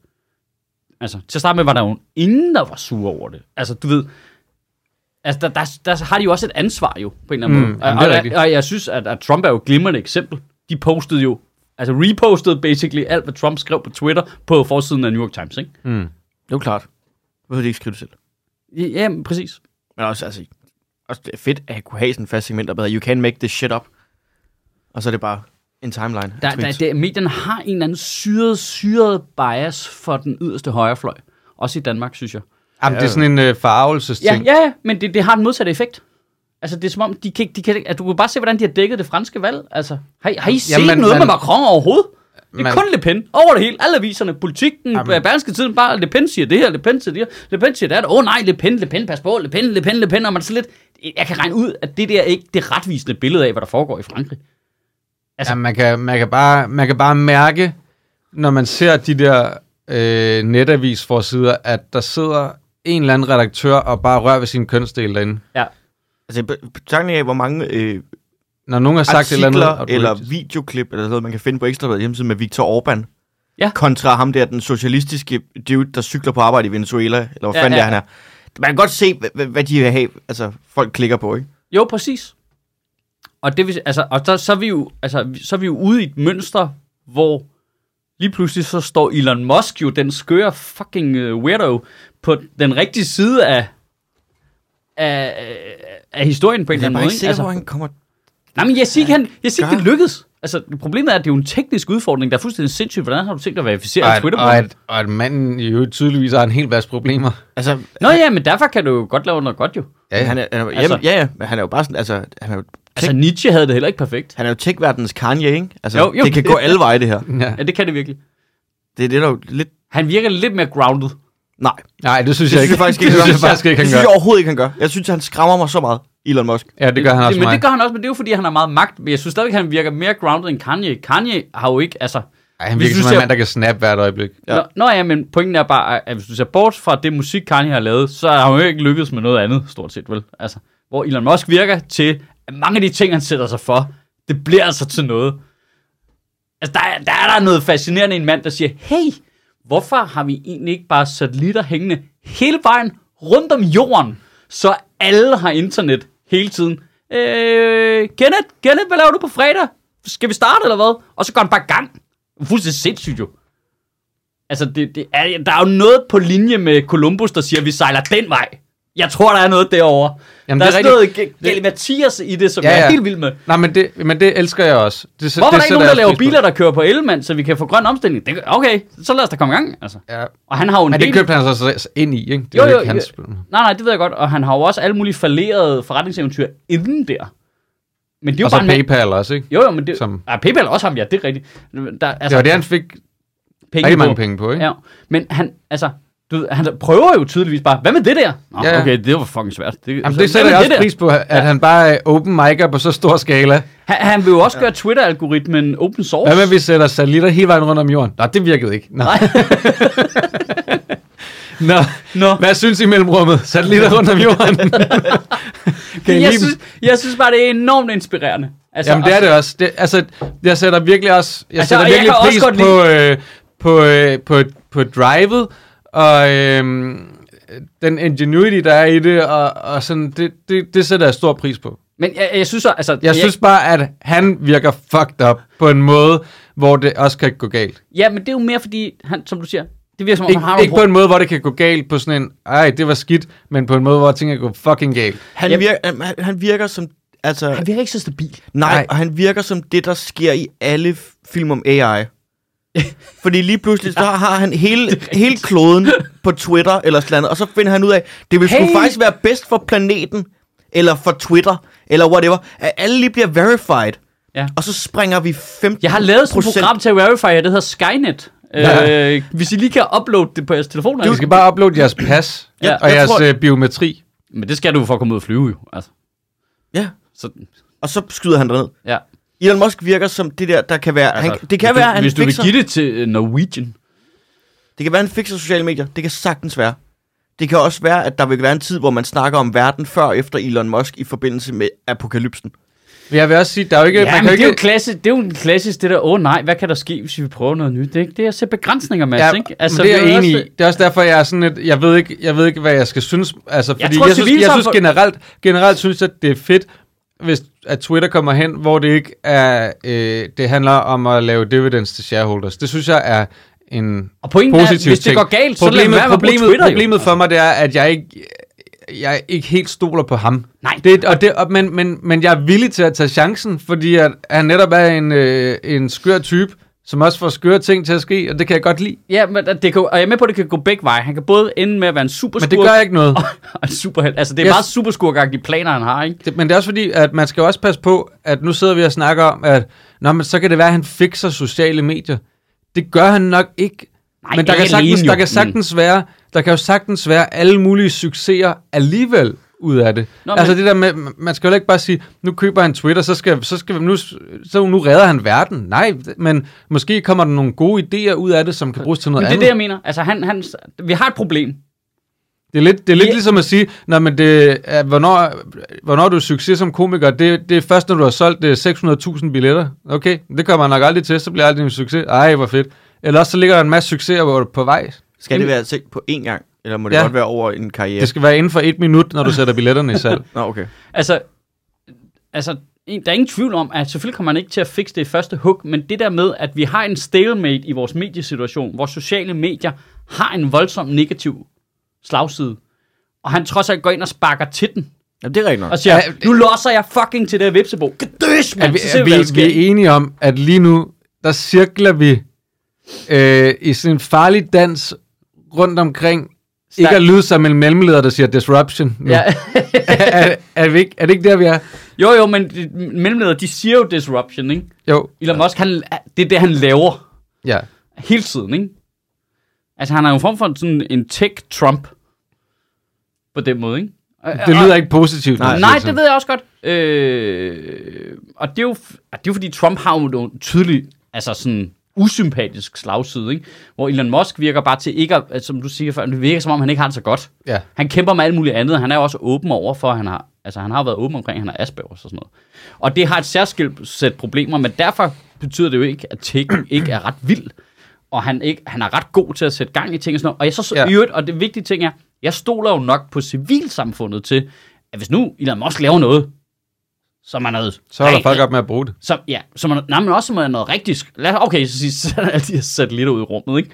Speaker 2: Altså, til at starte med var der jo ingen, der var sure over det. Altså, du ved, altså, der, der, der har de jo også et ansvar jo, på en eller anden
Speaker 1: Mm,
Speaker 2: måde.
Speaker 1: jamen,
Speaker 2: Og,
Speaker 1: det er
Speaker 2: og,
Speaker 1: rigtigt.
Speaker 2: og jeg synes, at, at Trump er jo et glimrende eksempel. De postede jo, altså repostede basically alt, hvad Trump skrev på Twitter på forsiden af New York Times, ikke?
Speaker 1: Mm.
Speaker 3: Det er jo klart. Du behøver de ikke skrive det selv.
Speaker 2: Ja, men præcis.
Speaker 3: Men også, altså, også det er fedt at kunne have sådan en fast segment, der bedre, you can make this shit up. Og så er det bare en timeline.
Speaker 2: Der, der, der, medierne har en eller anden syret, syret bias for den yderste højrefløj. Også i Danmark, synes jeg.
Speaker 1: Jamen, det er sådan en øh,
Speaker 2: Ja,
Speaker 1: farvelsesting.
Speaker 2: ja, ja, men det, det har den modsatte effekt. Altså, det er som om, de kan, ikke- de kan, ikke- at du kan bare se, hvordan de har dækket det franske valg. Altså, har, I- har I set
Speaker 1: Jamen,
Speaker 2: Jamen,
Speaker 1: man-
Speaker 2: noget
Speaker 1: man-
Speaker 2: med Macron overhovedet? Det er
Speaker 1: Man-
Speaker 2: kun Le Pen. Over det hele. Alle aviserne, politikken, øh,
Speaker 1: Jamen.
Speaker 2: Berlingske Tiden, bare Le Pen siger det her, Le Pen siger det her, Le Pen siger det her. Åh oh, nej, Le Pen, Le Pen, pas på, Le Pen, Le Pen, Le Pen. Og man er så lidt, jeg kan regne ud, at det der ikke det er retvisende billede af, hvad der foregår i Frankrig. altså-
Speaker 1: Ja, man, kan, man, kan bare, man kan bare mærke, når man ser de der øh, netavisforsider, at der sidder en eller anden redaktør og bare rører ved sin kønsdel derinde.
Speaker 2: Ja.
Speaker 3: Altså, be- betragtning af, hvor mange øh,
Speaker 1: Når nogen har sagt
Speaker 3: artikler
Speaker 1: et eller andet... og du
Speaker 3: eller
Speaker 1: ikke-
Speaker 3: videoklip, eller sådan noget, man kan finde på Ekstrabladet hjemmeside med Viktor Orbán.
Speaker 2: Ja.
Speaker 3: Kontra ham der, den socialistiske dude, der cykler på arbejde i Venezuela, eller hvor
Speaker 2: Ja,
Speaker 3: fanden
Speaker 2: ja,
Speaker 3: det er, han er. Man kan godt se, hvad, hvad de vil have, altså folk klikker på, ikke?
Speaker 2: Jo, præcis. Og, det, vil- altså, og så, så, er vi jo, altså, vi- så er vi jo ude i et mønster, hvor lige pludselig så står Elon Musk jo, den skøre fucking uh, weirdo, på den rigtige side af, af, af historien på en eller anden måde. ikke? altså,
Speaker 3: han kommer...
Speaker 2: nej, men jeg siger ikke, han, jeg siger ikke det
Speaker 3: gør.
Speaker 2: lykkedes. Altså, problemet er, at det er jo en teknisk udfordring, der er fuldstændig sindssygt. Hvordan har du tænkt dig
Speaker 1: og,
Speaker 2: at verificere
Speaker 1: at,
Speaker 2: Twitter?
Speaker 1: og, at, og at manden jo tydeligvis har en hel masse problemer.
Speaker 3: Altså,
Speaker 2: Nå ja, men derfor kan du jo godt lave noget godt jo.
Speaker 1: Ja, ja.
Speaker 3: han er, han er,
Speaker 2: Altså-
Speaker 3: altså, ja, ja, men han er jo bare sådan, altså, han er jo
Speaker 2: Altså, Nietzsche havde det heller ikke perfekt.
Speaker 3: Han er jo tech-verdens Kanye, ikke? Altså,
Speaker 2: Jo,
Speaker 3: jo,
Speaker 2: jo.
Speaker 3: jo. det kan gå alle veje, det her.
Speaker 1: Ja.
Speaker 2: Ja, det kan det virkelig.
Speaker 3: Det er det, der er jo lidt...
Speaker 2: Han virker lidt mere grounded.
Speaker 3: Nej, det
Speaker 1: Nej, det synes
Speaker 3: synes
Speaker 1: jeg
Speaker 3: jeg,
Speaker 1: ikke.
Speaker 3: faktisk ikke,
Speaker 1: det synes
Speaker 3: han
Speaker 1: jeg faktisk ikke,
Speaker 3: Det
Speaker 1: han
Speaker 3: synes jeg
Speaker 1: gør.
Speaker 3: overhovedet ikke, han gør. Jeg synes, han skræmmer mig så meget, Elon Musk.
Speaker 1: Ja, det gør han også
Speaker 2: men
Speaker 1: mig.
Speaker 2: det gør han også, men det er jo fordi, han har meget magt. Men jeg synes stadigvæk, han virker mere grounded end Kanye. Kanye har jo ikke, altså...
Speaker 1: Ej, han
Speaker 2: Hvis
Speaker 1: virker
Speaker 2: du
Speaker 1: som en
Speaker 2: ser-
Speaker 1: mand, der kan snappe hvert øjeblik.
Speaker 2: Ja.
Speaker 3: Ja.
Speaker 2: Nå, nå ja, men pointen er bare, at hvis du ser bort fra det musik, Kanye har lavet, så har han jo ikke lykkedes med noget andet, stort set vel. Altså, hvor Elon Musk virker til, at mange af de ting, han sætter sig for, det bliver altså til noget. Altså, der er, der er der noget fascinerende i en mand, der siger, hey, hvorfor har vi egentlig ikke bare satellitter hængende hele vejen rundt om jorden, så alle har internet hele tiden? Øh, Kenneth, Kenneth, hvad laver du på fredag? Skal vi starte, eller hvad? Og så går han bare i gang. Fuldstændig sindssygt jo. Altså, det, det er, der er jo noget på linje med Columbus, der siger, at vi sejler den vej. Jeg tror, der er noget derovre.
Speaker 1: Jamen,
Speaker 2: der
Speaker 1: det er
Speaker 2: er, sådan noget Gal- Galvathias i det, som ja,
Speaker 1: Ja,
Speaker 2: ja. jeg er
Speaker 1: ja.
Speaker 2: helt vild med.
Speaker 1: Nej, men det, men det elsker jeg også. Det, det
Speaker 2: Hvorfor er der ikke
Speaker 1: sætter
Speaker 2: nogen, der
Speaker 1: jeg
Speaker 2: laver
Speaker 1: også pris på.
Speaker 2: biler, der kører på el, mand, så vi kan få grøn omstilling? Det, okay, så lad os da komme i gang. Altså.
Speaker 1: Ja.
Speaker 2: Og han har jo en
Speaker 1: Men det
Speaker 2: del...
Speaker 1: købte han så så ind i, ikke? Det
Speaker 2: Jo,
Speaker 1: er jo,
Speaker 2: jo,
Speaker 1: ikke hans
Speaker 2: jo. Nej, nej, det ved jeg godt. Og han har jo også alle mulige falderede forretningseventyr inden der. Men det er jo
Speaker 1: Og så
Speaker 2: bare... en mand-
Speaker 1: PayPal også, ikke?
Speaker 2: Jo, jo, men det... Som...
Speaker 1: som-
Speaker 2: Ah, PayPal er også ham, ja, det er rigtigt. Der, altså,
Speaker 1: Det var det, han fik
Speaker 2: penge
Speaker 1: rigtig
Speaker 2: på.
Speaker 1: mange penge på, ikke?
Speaker 2: Ja, men han, altså, du ved, han prøver jo tydeligvis bare, hvad med det der? Nå,
Speaker 1: Ja, ja.
Speaker 2: okay, det var fucking svært. Det,
Speaker 1: Jamen,
Speaker 2: så,
Speaker 1: det sætter
Speaker 2: hvad
Speaker 1: jeg
Speaker 2: med
Speaker 1: også
Speaker 2: der?
Speaker 1: pris på, at han bare er open mic'er på så stor skala.
Speaker 2: Han, han vil jo også gøre Twitter-algoritmen open source.
Speaker 1: Hvad med, at vi sætter satellitter hele vejen rundt om jorden? Nå, det virkede ikke. Nå.
Speaker 2: Nej.
Speaker 1: Nå.
Speaker 2: Nå,
Speaker 1: Hvad synes I i mellemrummet? Satellitter rundt om jorden? kan I
Speaker 2: jeg,
Speaker 1: lide dem?
Speaker 2: synes, jeg synes bare, det er enormt inspirerende. Altså,
Speaker 1: Jamen, det er det også. Det, altså, jeg sætter virkelig også jeg
Speaker 2: Altså,
Speaker 1: altså,
Speaker 2: og
Speaker 1: sætter
Speaker 2: jeg
Speaker 1: virkelig
Speaker 2: kan også
Speaker 1: pris
Speaker 2: godt
Speaker 1: på, øh, på, øh, på, på drivet, og øh, den ingenuity, der er i det, og, og sådan, det, det, det sætter jeg stor pris på.
Speaker 2: Men jeg, jeg synes så, altså...
Speaker 1: Jeg synes bare, at han virker fucked up på en måde, hvor det også kan gå galt.
Speaker 2: Ja, men det er jo mere fordi, han, som du siger, det virker som om,
Speaker 1: Ik-
Speaker 2: han har
Speaker 1: ikke på en måde, hvor det kan gå galt på sådan en, ej, det var skidt, men på en måde, hvor ting kan gå fucking galt.
Speaker 3: Han,
Speaker 2: Jamen-
Speaker 3: virker, han- han, han virker som... Altså,
Speaker 2: Han virker ikke så stabil.
Speaker 3: nej,
Speaker 1: Nej.
Speaker 3: og han virker som det, der sker i alle f- film om AI. Fordi lige pludselig, så har han hele, hele kloden på Twitter eller sådan noget, og så finder han ud af, det vil hey.
Speaker 2: Hey.
Speaker 3: sgu faktisk være bedst for planeten, eller for Twitter, eller whatever, at alle lige bliver verified.
Speaker 2: Ja.
Speaker 3: Og så springer vi 15
Speaker 2: Jeg har lavet sådan et program til at verify, det hedder Skynet. Ja.
Speaker 1: Ja.
Speaker 2: Øh, hvis I lige kan uploade det på jeres altså. telefoner.
Speaker 1: I skal bare uploade jeres pas
Speaker 2: Ja,
Speaker 1: ja, og
Speaker 2: jeg
Speaker 1: jeres
Speaker 3: tror-
Speaker 1: tror... biometri.
Speaker 2: Men det skal du for at komme ud og flyve, jo. Altså,
Speaker 3: Ja,
Speaker 2: så,
Speaker 3: og så skyder han derned.
Speaker 2: ja.
Speaker 3: Elon Musk virker som det der, der kan være... Altså, han, det kan
Speaker 2: hvis
Speaker 3: være,
Speaker 2: du,
Speaker 3: han
Speaker 2: Hvis du vil
Speaker 3: fikser,
Speaker 2: give det til øh, Norwegian.
Speaker 3: det kan være, han fikser sociale medier. Det kan sagtens være. Det kan også være, at der vil være en tid, hvor man snakker om verden før og efter Elon Musk i forbindelse med apokalypsen.
Speaker 1: Men jeg vil også sige, der er jo ikke...
Speaker 2: Ja,
Speaker 1: man
Speaker 2: men
Speaker 1: kan
Speaker 2: det,
Speaker 1: ikke...
Speaker 2: er jo klassisk, det er jo en klassisk, det der, åh oh, nej, hvad kan der ske, hvis vi prøver noget nyt? Det er, ikke, det er at sætte begrænsninger, Mads,
Speaker 1: Ja,
Speaker 2: ikke?
Speaker 1: altså, det er
Speaker 2: vi
Speaker 1: jeg enig
Speaker 2: også-
Speaker 1: i. Det er også derfor, jeg er sådan lidt, jeg ved ikke, jeg ved ikke hvad jeg skal synes. Altså, fordi jeg,
Speaker 2: tror,
Speaker 1: tror, jeg, synes, jeg synes
Speaker 2: civilsamfund-
Speaker 1: generelt, generelt synes jeg, at det er fedt, hvis at Twitter kommer hen, hvor det ikke er, øh, det handler om at lave dividends til shareholders. Det synes jeg er en
Speaker 2: Og pointen er,
Speaker 1: positiv
Speaker 2: hvis det
Speaker 1: ting.
Speaker 2: går galt, så lad
Speaker 1: problemet,
Speaker 2: være med at bruge
Speaker 1: problemet,
Speaker 2: Twitter, jo. Altså.
Speaker 1: problemet for mig, det er, at jeg ikke, jeg ikke helt stoler på ham.
Speaker 2: Nej.
Speaker 1: Det, og det, og, men, men, men jeg er villig til at tage chancen, fordi at han netop er en, øh, en skør type, som også får skøre ting til at ske, og det kan jeg godt lide.
Speaker 2: Ja, men det kan, og jeg er med på, at det kan gå begge veje. Han kan både ende med at være en superskurk,
Speaker 1: Men det gør ikke noget.
Speaker 2: og en superhelt. Altså, det er yes.
Speaker 1: Yes.
Speaker 2: meget superskurkagtige planer, han har, ikke?
Speaker 1: Det, men det er også fordi, at man skal jo også passe på, at nu sidder vi og snakker om, at Nå, men så kan det være, at han fikser sociale medier. Det gør han nok ikke.
Speaker 2: Nej,
Speaker 1: men der,
Speaker 2: ikke
Speaker 1: kan sagtens,
Speaker 2: alene, jo. Mm.
Speaker 1: der, kan sagtens være, der kan jo sagtens være alle mulige succeser alligevel ud af det.
Speaker 2: Nå,
Speaker 1: Nå, altså men...
Speaker 2: men-
Speaker 1: det der med, man skal jo ikke bare sige, nu køber han Twitter, så, skal, så, skal, nu, så nu redder han verden. Nej, men måske kommer der nogle gode idéer ud af det, som kan bruges til noget
Speaker 2: Men det er
Speaker 1: andet.
Speaker 2: det, jeg mener. Altså, han, han, vi har et problem.
Speaker 1: Det er lidt, det er lidt
Speaker 2: Ja.
Speaker 1: yeah. ligesom at sige, nej, men det, at hvornår, hvornår du er succes som komiker, det, det er først, når du har solgt øh, 600.000 billetter. Okay, det kommer man nok aldrig til, så bliver jeg aldrig en succes. Ej, hvor fedt. Eller også så ligger der en masse succeser hvor- på vej.
Speaker 3: Skal det være tænkt på én gang, eller må det
Speaker 1: Ja.
Speaker 3: godt være over en karriere?
Speaker 1: Det skal være inden for et minut, når du sætter billetterne i salg.
Speaker 3: Nå, okay.
Speaker 2: Altså, altså, en- der er ingen tvivl om, at selvfølgelig kommer man ikke til at fikse det i første hug, men det der med, at vi har en stalemate i vores mediesituation, hvor sociale medier har en voldsom negativ slagside, og han trods alt går ind og sparker til den,
Speaker 3: Jamen, det er rigtigt nok.
Speaker 2: og siger,
Speaker 1: Ja,
Speaker 2: nu losser jeg fucking til det her vipsebo. Gdøs,
Speaker 1: Er
Speaker 2: mand!
Speaker 1: vi,
Speaker 2: Så ser
Speaker 1: er
Speaker 2: vi, hvad der
Speaker 1: vi, vi
Speaker 2: sker.
Speaker 1: er enige om, at lige nu, der cirkler vi øh, i sådan en farlig dans rundt omkring Ikke at lyde som en mellemleder, der siger disruption nu.
Speaker 2: Ja.
Speaker 1: Ja. er, er, vi ikke, er det ikke der, vi er?
Speaker 2: jo, jo, men de- mellemledere, de siger jo disruption, ikke?
Speaker 1: Jo,
Speaker 2: Elon Musk, han, det er det, han laver
Speaker 1: ja.
Speaker 2: hele tiden, ikke? Altså, han er jo en form for sådan en tech-Trump på den måde, ikke?
Speaker 1: Det lyder ikke positivt. når
Speaker 3: Nej.
Speaker 1: du siger
Speaker 2: Nej,
Speaker 1: sådan.
Speaker 2: det ved jeg også godt. Øh, og det er, jo, f- og det er jo fordi, Trump har jo nogle tydelige, altså sådan usympatisk slagside, ikke? hvor Elon Musk virker bare til ikke, at, at, som du siger før, det virker som om, han ikke har det så godt.
Speaker 1: Ja.
Speaker 2: Han kæmper med alt muligt andet, han er jo også åben over for, at han har, altså han har jo været åben omkring, at han har Aspergers og sådan noget. Og det har et særskilt sæt problemer, men derfor betyder det jo ikke, at Tech ikke er ret vild. Og han, ikke, han er ret god til at sætte gang i ting og sådan noget. Og, jeg så,
Speaker 1: Ja.
Speaker 2: ja. i øvrigt, og det vigtige ting er, jeg stoler jo nok på civilsamfundet til, at hvis nu Elon Musk laver noget, som er noget...
Speaker 1: Så holder
Speaker 2: rigtig-
Speaker 1: folk op med at bruge det.
Speaker 2: Som, ja, som er, nej, men også som er noget rigtigt... sk- Lad, os- okay, så siger sådan alle de her satellitter ud i rummet, ikke?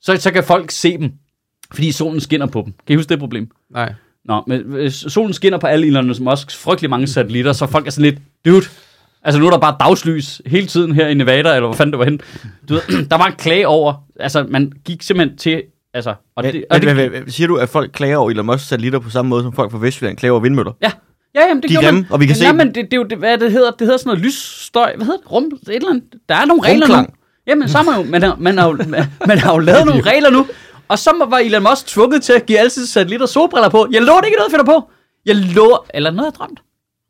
Speaker 2: Så, så kan folk se dem, fordi solen skinner på dem. Kan I huske det problem?
Speaker 1: Nej.
Speaker 2: Nå, men hvis solen skinner på alle Elon Musks frygtelig mange satellitter, så folk er sådan lidt, dude, altså nu er der bare dagslys hele tiden her i Nevada, eller hvor fanden det var henne. Du ved, der var en klage over, altså man gik simpelthen til, altså, og
Speaker 3: Men,
Speaker 2: det, og det,
Speaker 3: men, men, men, siger du, at folk klager over Elon Musk satellitter på samme måde, som folk fra Vestjylland klager over vindmøller?
Speaker 2: ja, ja, jamen det
Speaker 3: De er
Speaker 2: gjorde
Speaker 3: grimme,
Speaker 2: man.
Speaker 3: og vi kan
Speaker 2: men,
Speaker 3: se
Speaker 2: nej,
Speaker 3: dem.
Speaker 2: men det, det, er jo, det, hvad det hedder, det hedder sådan noget lysstøj, hvad hedder det, rum, et eller andet, der er nogle regler nu.
Speaker 3: Rumklang.
Speaker 2: Jamen, så har man jo, man har, man har, jo, man har jo lavet nogle regler nu, og så var Elon Musk tvunget til at give alle sine satellitter solbriller på. Jeg lover det ikke er noget, jeg finder på. Jeg lover, eller noget, jeg drømte.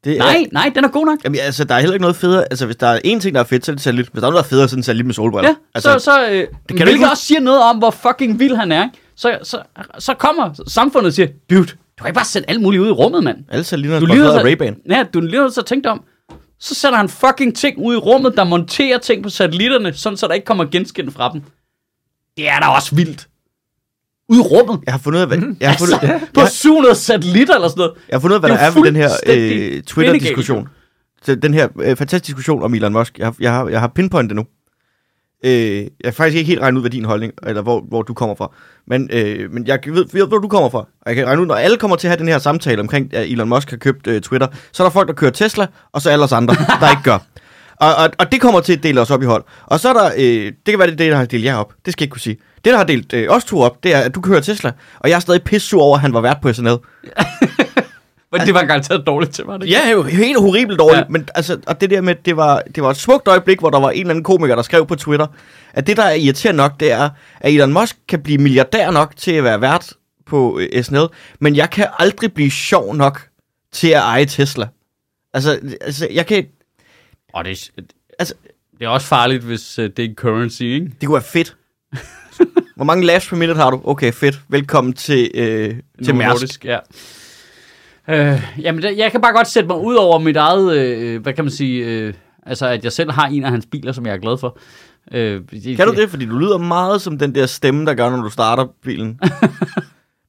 Speaker 3: Det Er,
Speaker 2: Nej, nej, den er god nok.
Speaker 3: jamen, altså, der er heller ikke noget federe. Altså, hvis der er én ting, der er fedt, så er det satellit. Hvis der er noget, der er federe, så er det satellit med solbriller.
Speaker 2: Ja,
Speaker 3: altså,
Speaker 2: altså, så, så øh, det kan
Speaker 3: du ikke
Speaker 2: hvilket også siger noget om, hvor fucking vild han er. Ikke? Så, så, så kommer samfundet og siger, dude, du kan ikke bare sætte alt muligt ud i rummet, mand.
Speaker 3: alle satellitter
Speaker 2: Du
Speaker 3: er sponsoreret af
Speaker 2: så,
Speaker 3: Ray-Ban.
Speaker 2: ja, du er lige nødt til at tænke dig om. Så sætter han fucking ting ud i rummet, der monterer ting på satellitterne, sådan så der ikke kommer genskin fra dem. Det er da også vildt. Ud i rummet.
Speaker 3: Jeg har fundet ud af, hvad, jeg har fundet,
Speaker 2: Altså, på 700 satellitter eller sådan noget.
Speaker 3: Jeg har fundet ud af, hvad
Speaker 2: Det
Speaker 3: der
Speaker 2: er
Speaker 3: er
Speaker 2: jo
Speaker 3: ved den her øh,
Speaker 2: fuldstændig
Speaker 3: Twitter-diskussion. Så Den her øh, fantastiske diskussion om Elon Musk. Jeg har, jeg har, jeg har pinpointet nu. Øh, jeg har faktisk ikke helt regnet ud, hvad din holdning, eller hvor, hvor du kommer fra. Men, øh, men jeg ved, ved, hvor du kommer fra. Og jeg kan regne ud, når alle kommer til at have den her samtale omkring, at Elon Musk har købt øh, Twitter, så er der folk, der kører Tesla, og så alle os andre, der ikke gør. Og, og, og det kommer til at dele os op i hold. Og så er der, øh, det kan være, det er det, der har delt jer op. Det skal jeg ikke kunne sige. Det, der har delt øh, os to op, det er, at du kører Tesla, og jeg er stadig pissur over, at han var vært på SNL.
Speaker 2: Men det var garanteret dårligt til mig. Det
Speaker 3: Ja, jo, helt horribelt dårligt.
Speaker 2: Ja.
Speaker 3: Ja. Men altså, og det der med, det var, det var et smukt øjeblik, hvor der var en eller anden komiker, der skrev på Twitter, at det, der er irriterende nok, det er, at Elon Musk kan blive milliardær nok til at være vært på øh, SNL, men jeg kan aldrig blive sjov nok til at eje Tesla. Altså, altså jeg kan,
Speaker 2: Og det, er-
Speaker 3: altså,
Speaker 2: det er også farligt, hvis øh, det er en currency, ikke?
Speaker 3: det kunne være fedt. Hvor mange laughs per minute har du? Okay, fedt. Velkommen til, øh, til
Speaker 2: Novo
Speaker 3: Mærsk.
Speaker 2: Nordisk, ja. Øh, jamen, der- jeg kan bare godt sætte mig ud over mit eget, øh, hvad kan man sige, øh, altså at jeg selv har en af hans biler, som jeg er glad for. Øh,
Speaker 3: Kan du det? Fordi du lyder meget som den der stemme, der gør, når du starter bilen.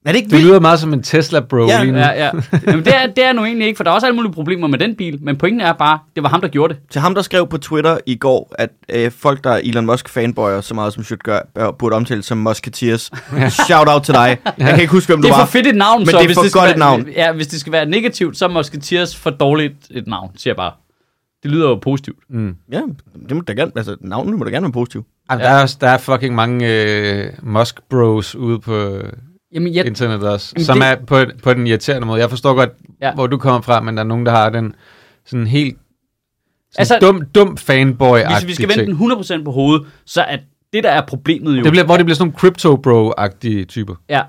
Speaker 3: er det ikke
Speaker 1: Du
Speaker 3: vildt?
Speaker 1: lyder meget som en Tesla-bro
Speaker 3: Ja,
Speaker 1: lige nu.
Speaker 2: Ja, ja. Jamen, det, er, det er nu egentlig ikke, for der er også alle mulige problemer med den bil, men pointen er bare, det var ham, der gjorde det.
Speaker 3: Til ham, der skrev på Twitter i går, at øh, folk, der er Elon Musk-fanboyer, så meget som Schut gør, bør- burde omtales som Musketeers. Shout out til dig. Jeg kan ikke huske, hvem du
Speaker 2: Det er
Speaker 3: var.
Speaker 2: for fedt et navn,
Speaker 3: Men
Speaker 2: så
Speaker 3: det er
Speaker 2: hvis
Speaker 3: for
Speaker 2: det skal
Speaker 3: godt
Speaker 2: være,
Speaker 3: et navn.
Speaker 2: Ja, hvis det skal være negativt, så er Musketeers for dårligt et navn, siger jeg bare. Det lyder jo positivt.
Speaker 3: Ja, det må da gerne, altså, navnet må da gerne være positivt.
Speaker 1: Jamen, Der, er, også- der er fucking mange øh, Musk-bros ude på
Speaker 2: Jamen, jeg,
Speaker 1: internettet også,
Speaker 2: Jamen,
Speaker 1: som
Speaker 2: det-
Speaker 1: er på, på den irriterende måde. Jeg forstår godt,
Speaker 2: Ja.
Speaker 1: ja. hvor du kommer fra, men der er nogen, der har den sådan helt sådan
Speaker 2: Altså-
Speaker 1: altså, dum, dum fanboy
Speaker 2: hvis vi skal vende den 100% på hovedet, så er det, der er problemet jo...
Speaker 1: det bliver, hvor det bliver sådan nogle crypto-bro-agtige typer.
Speaker 2: Ja.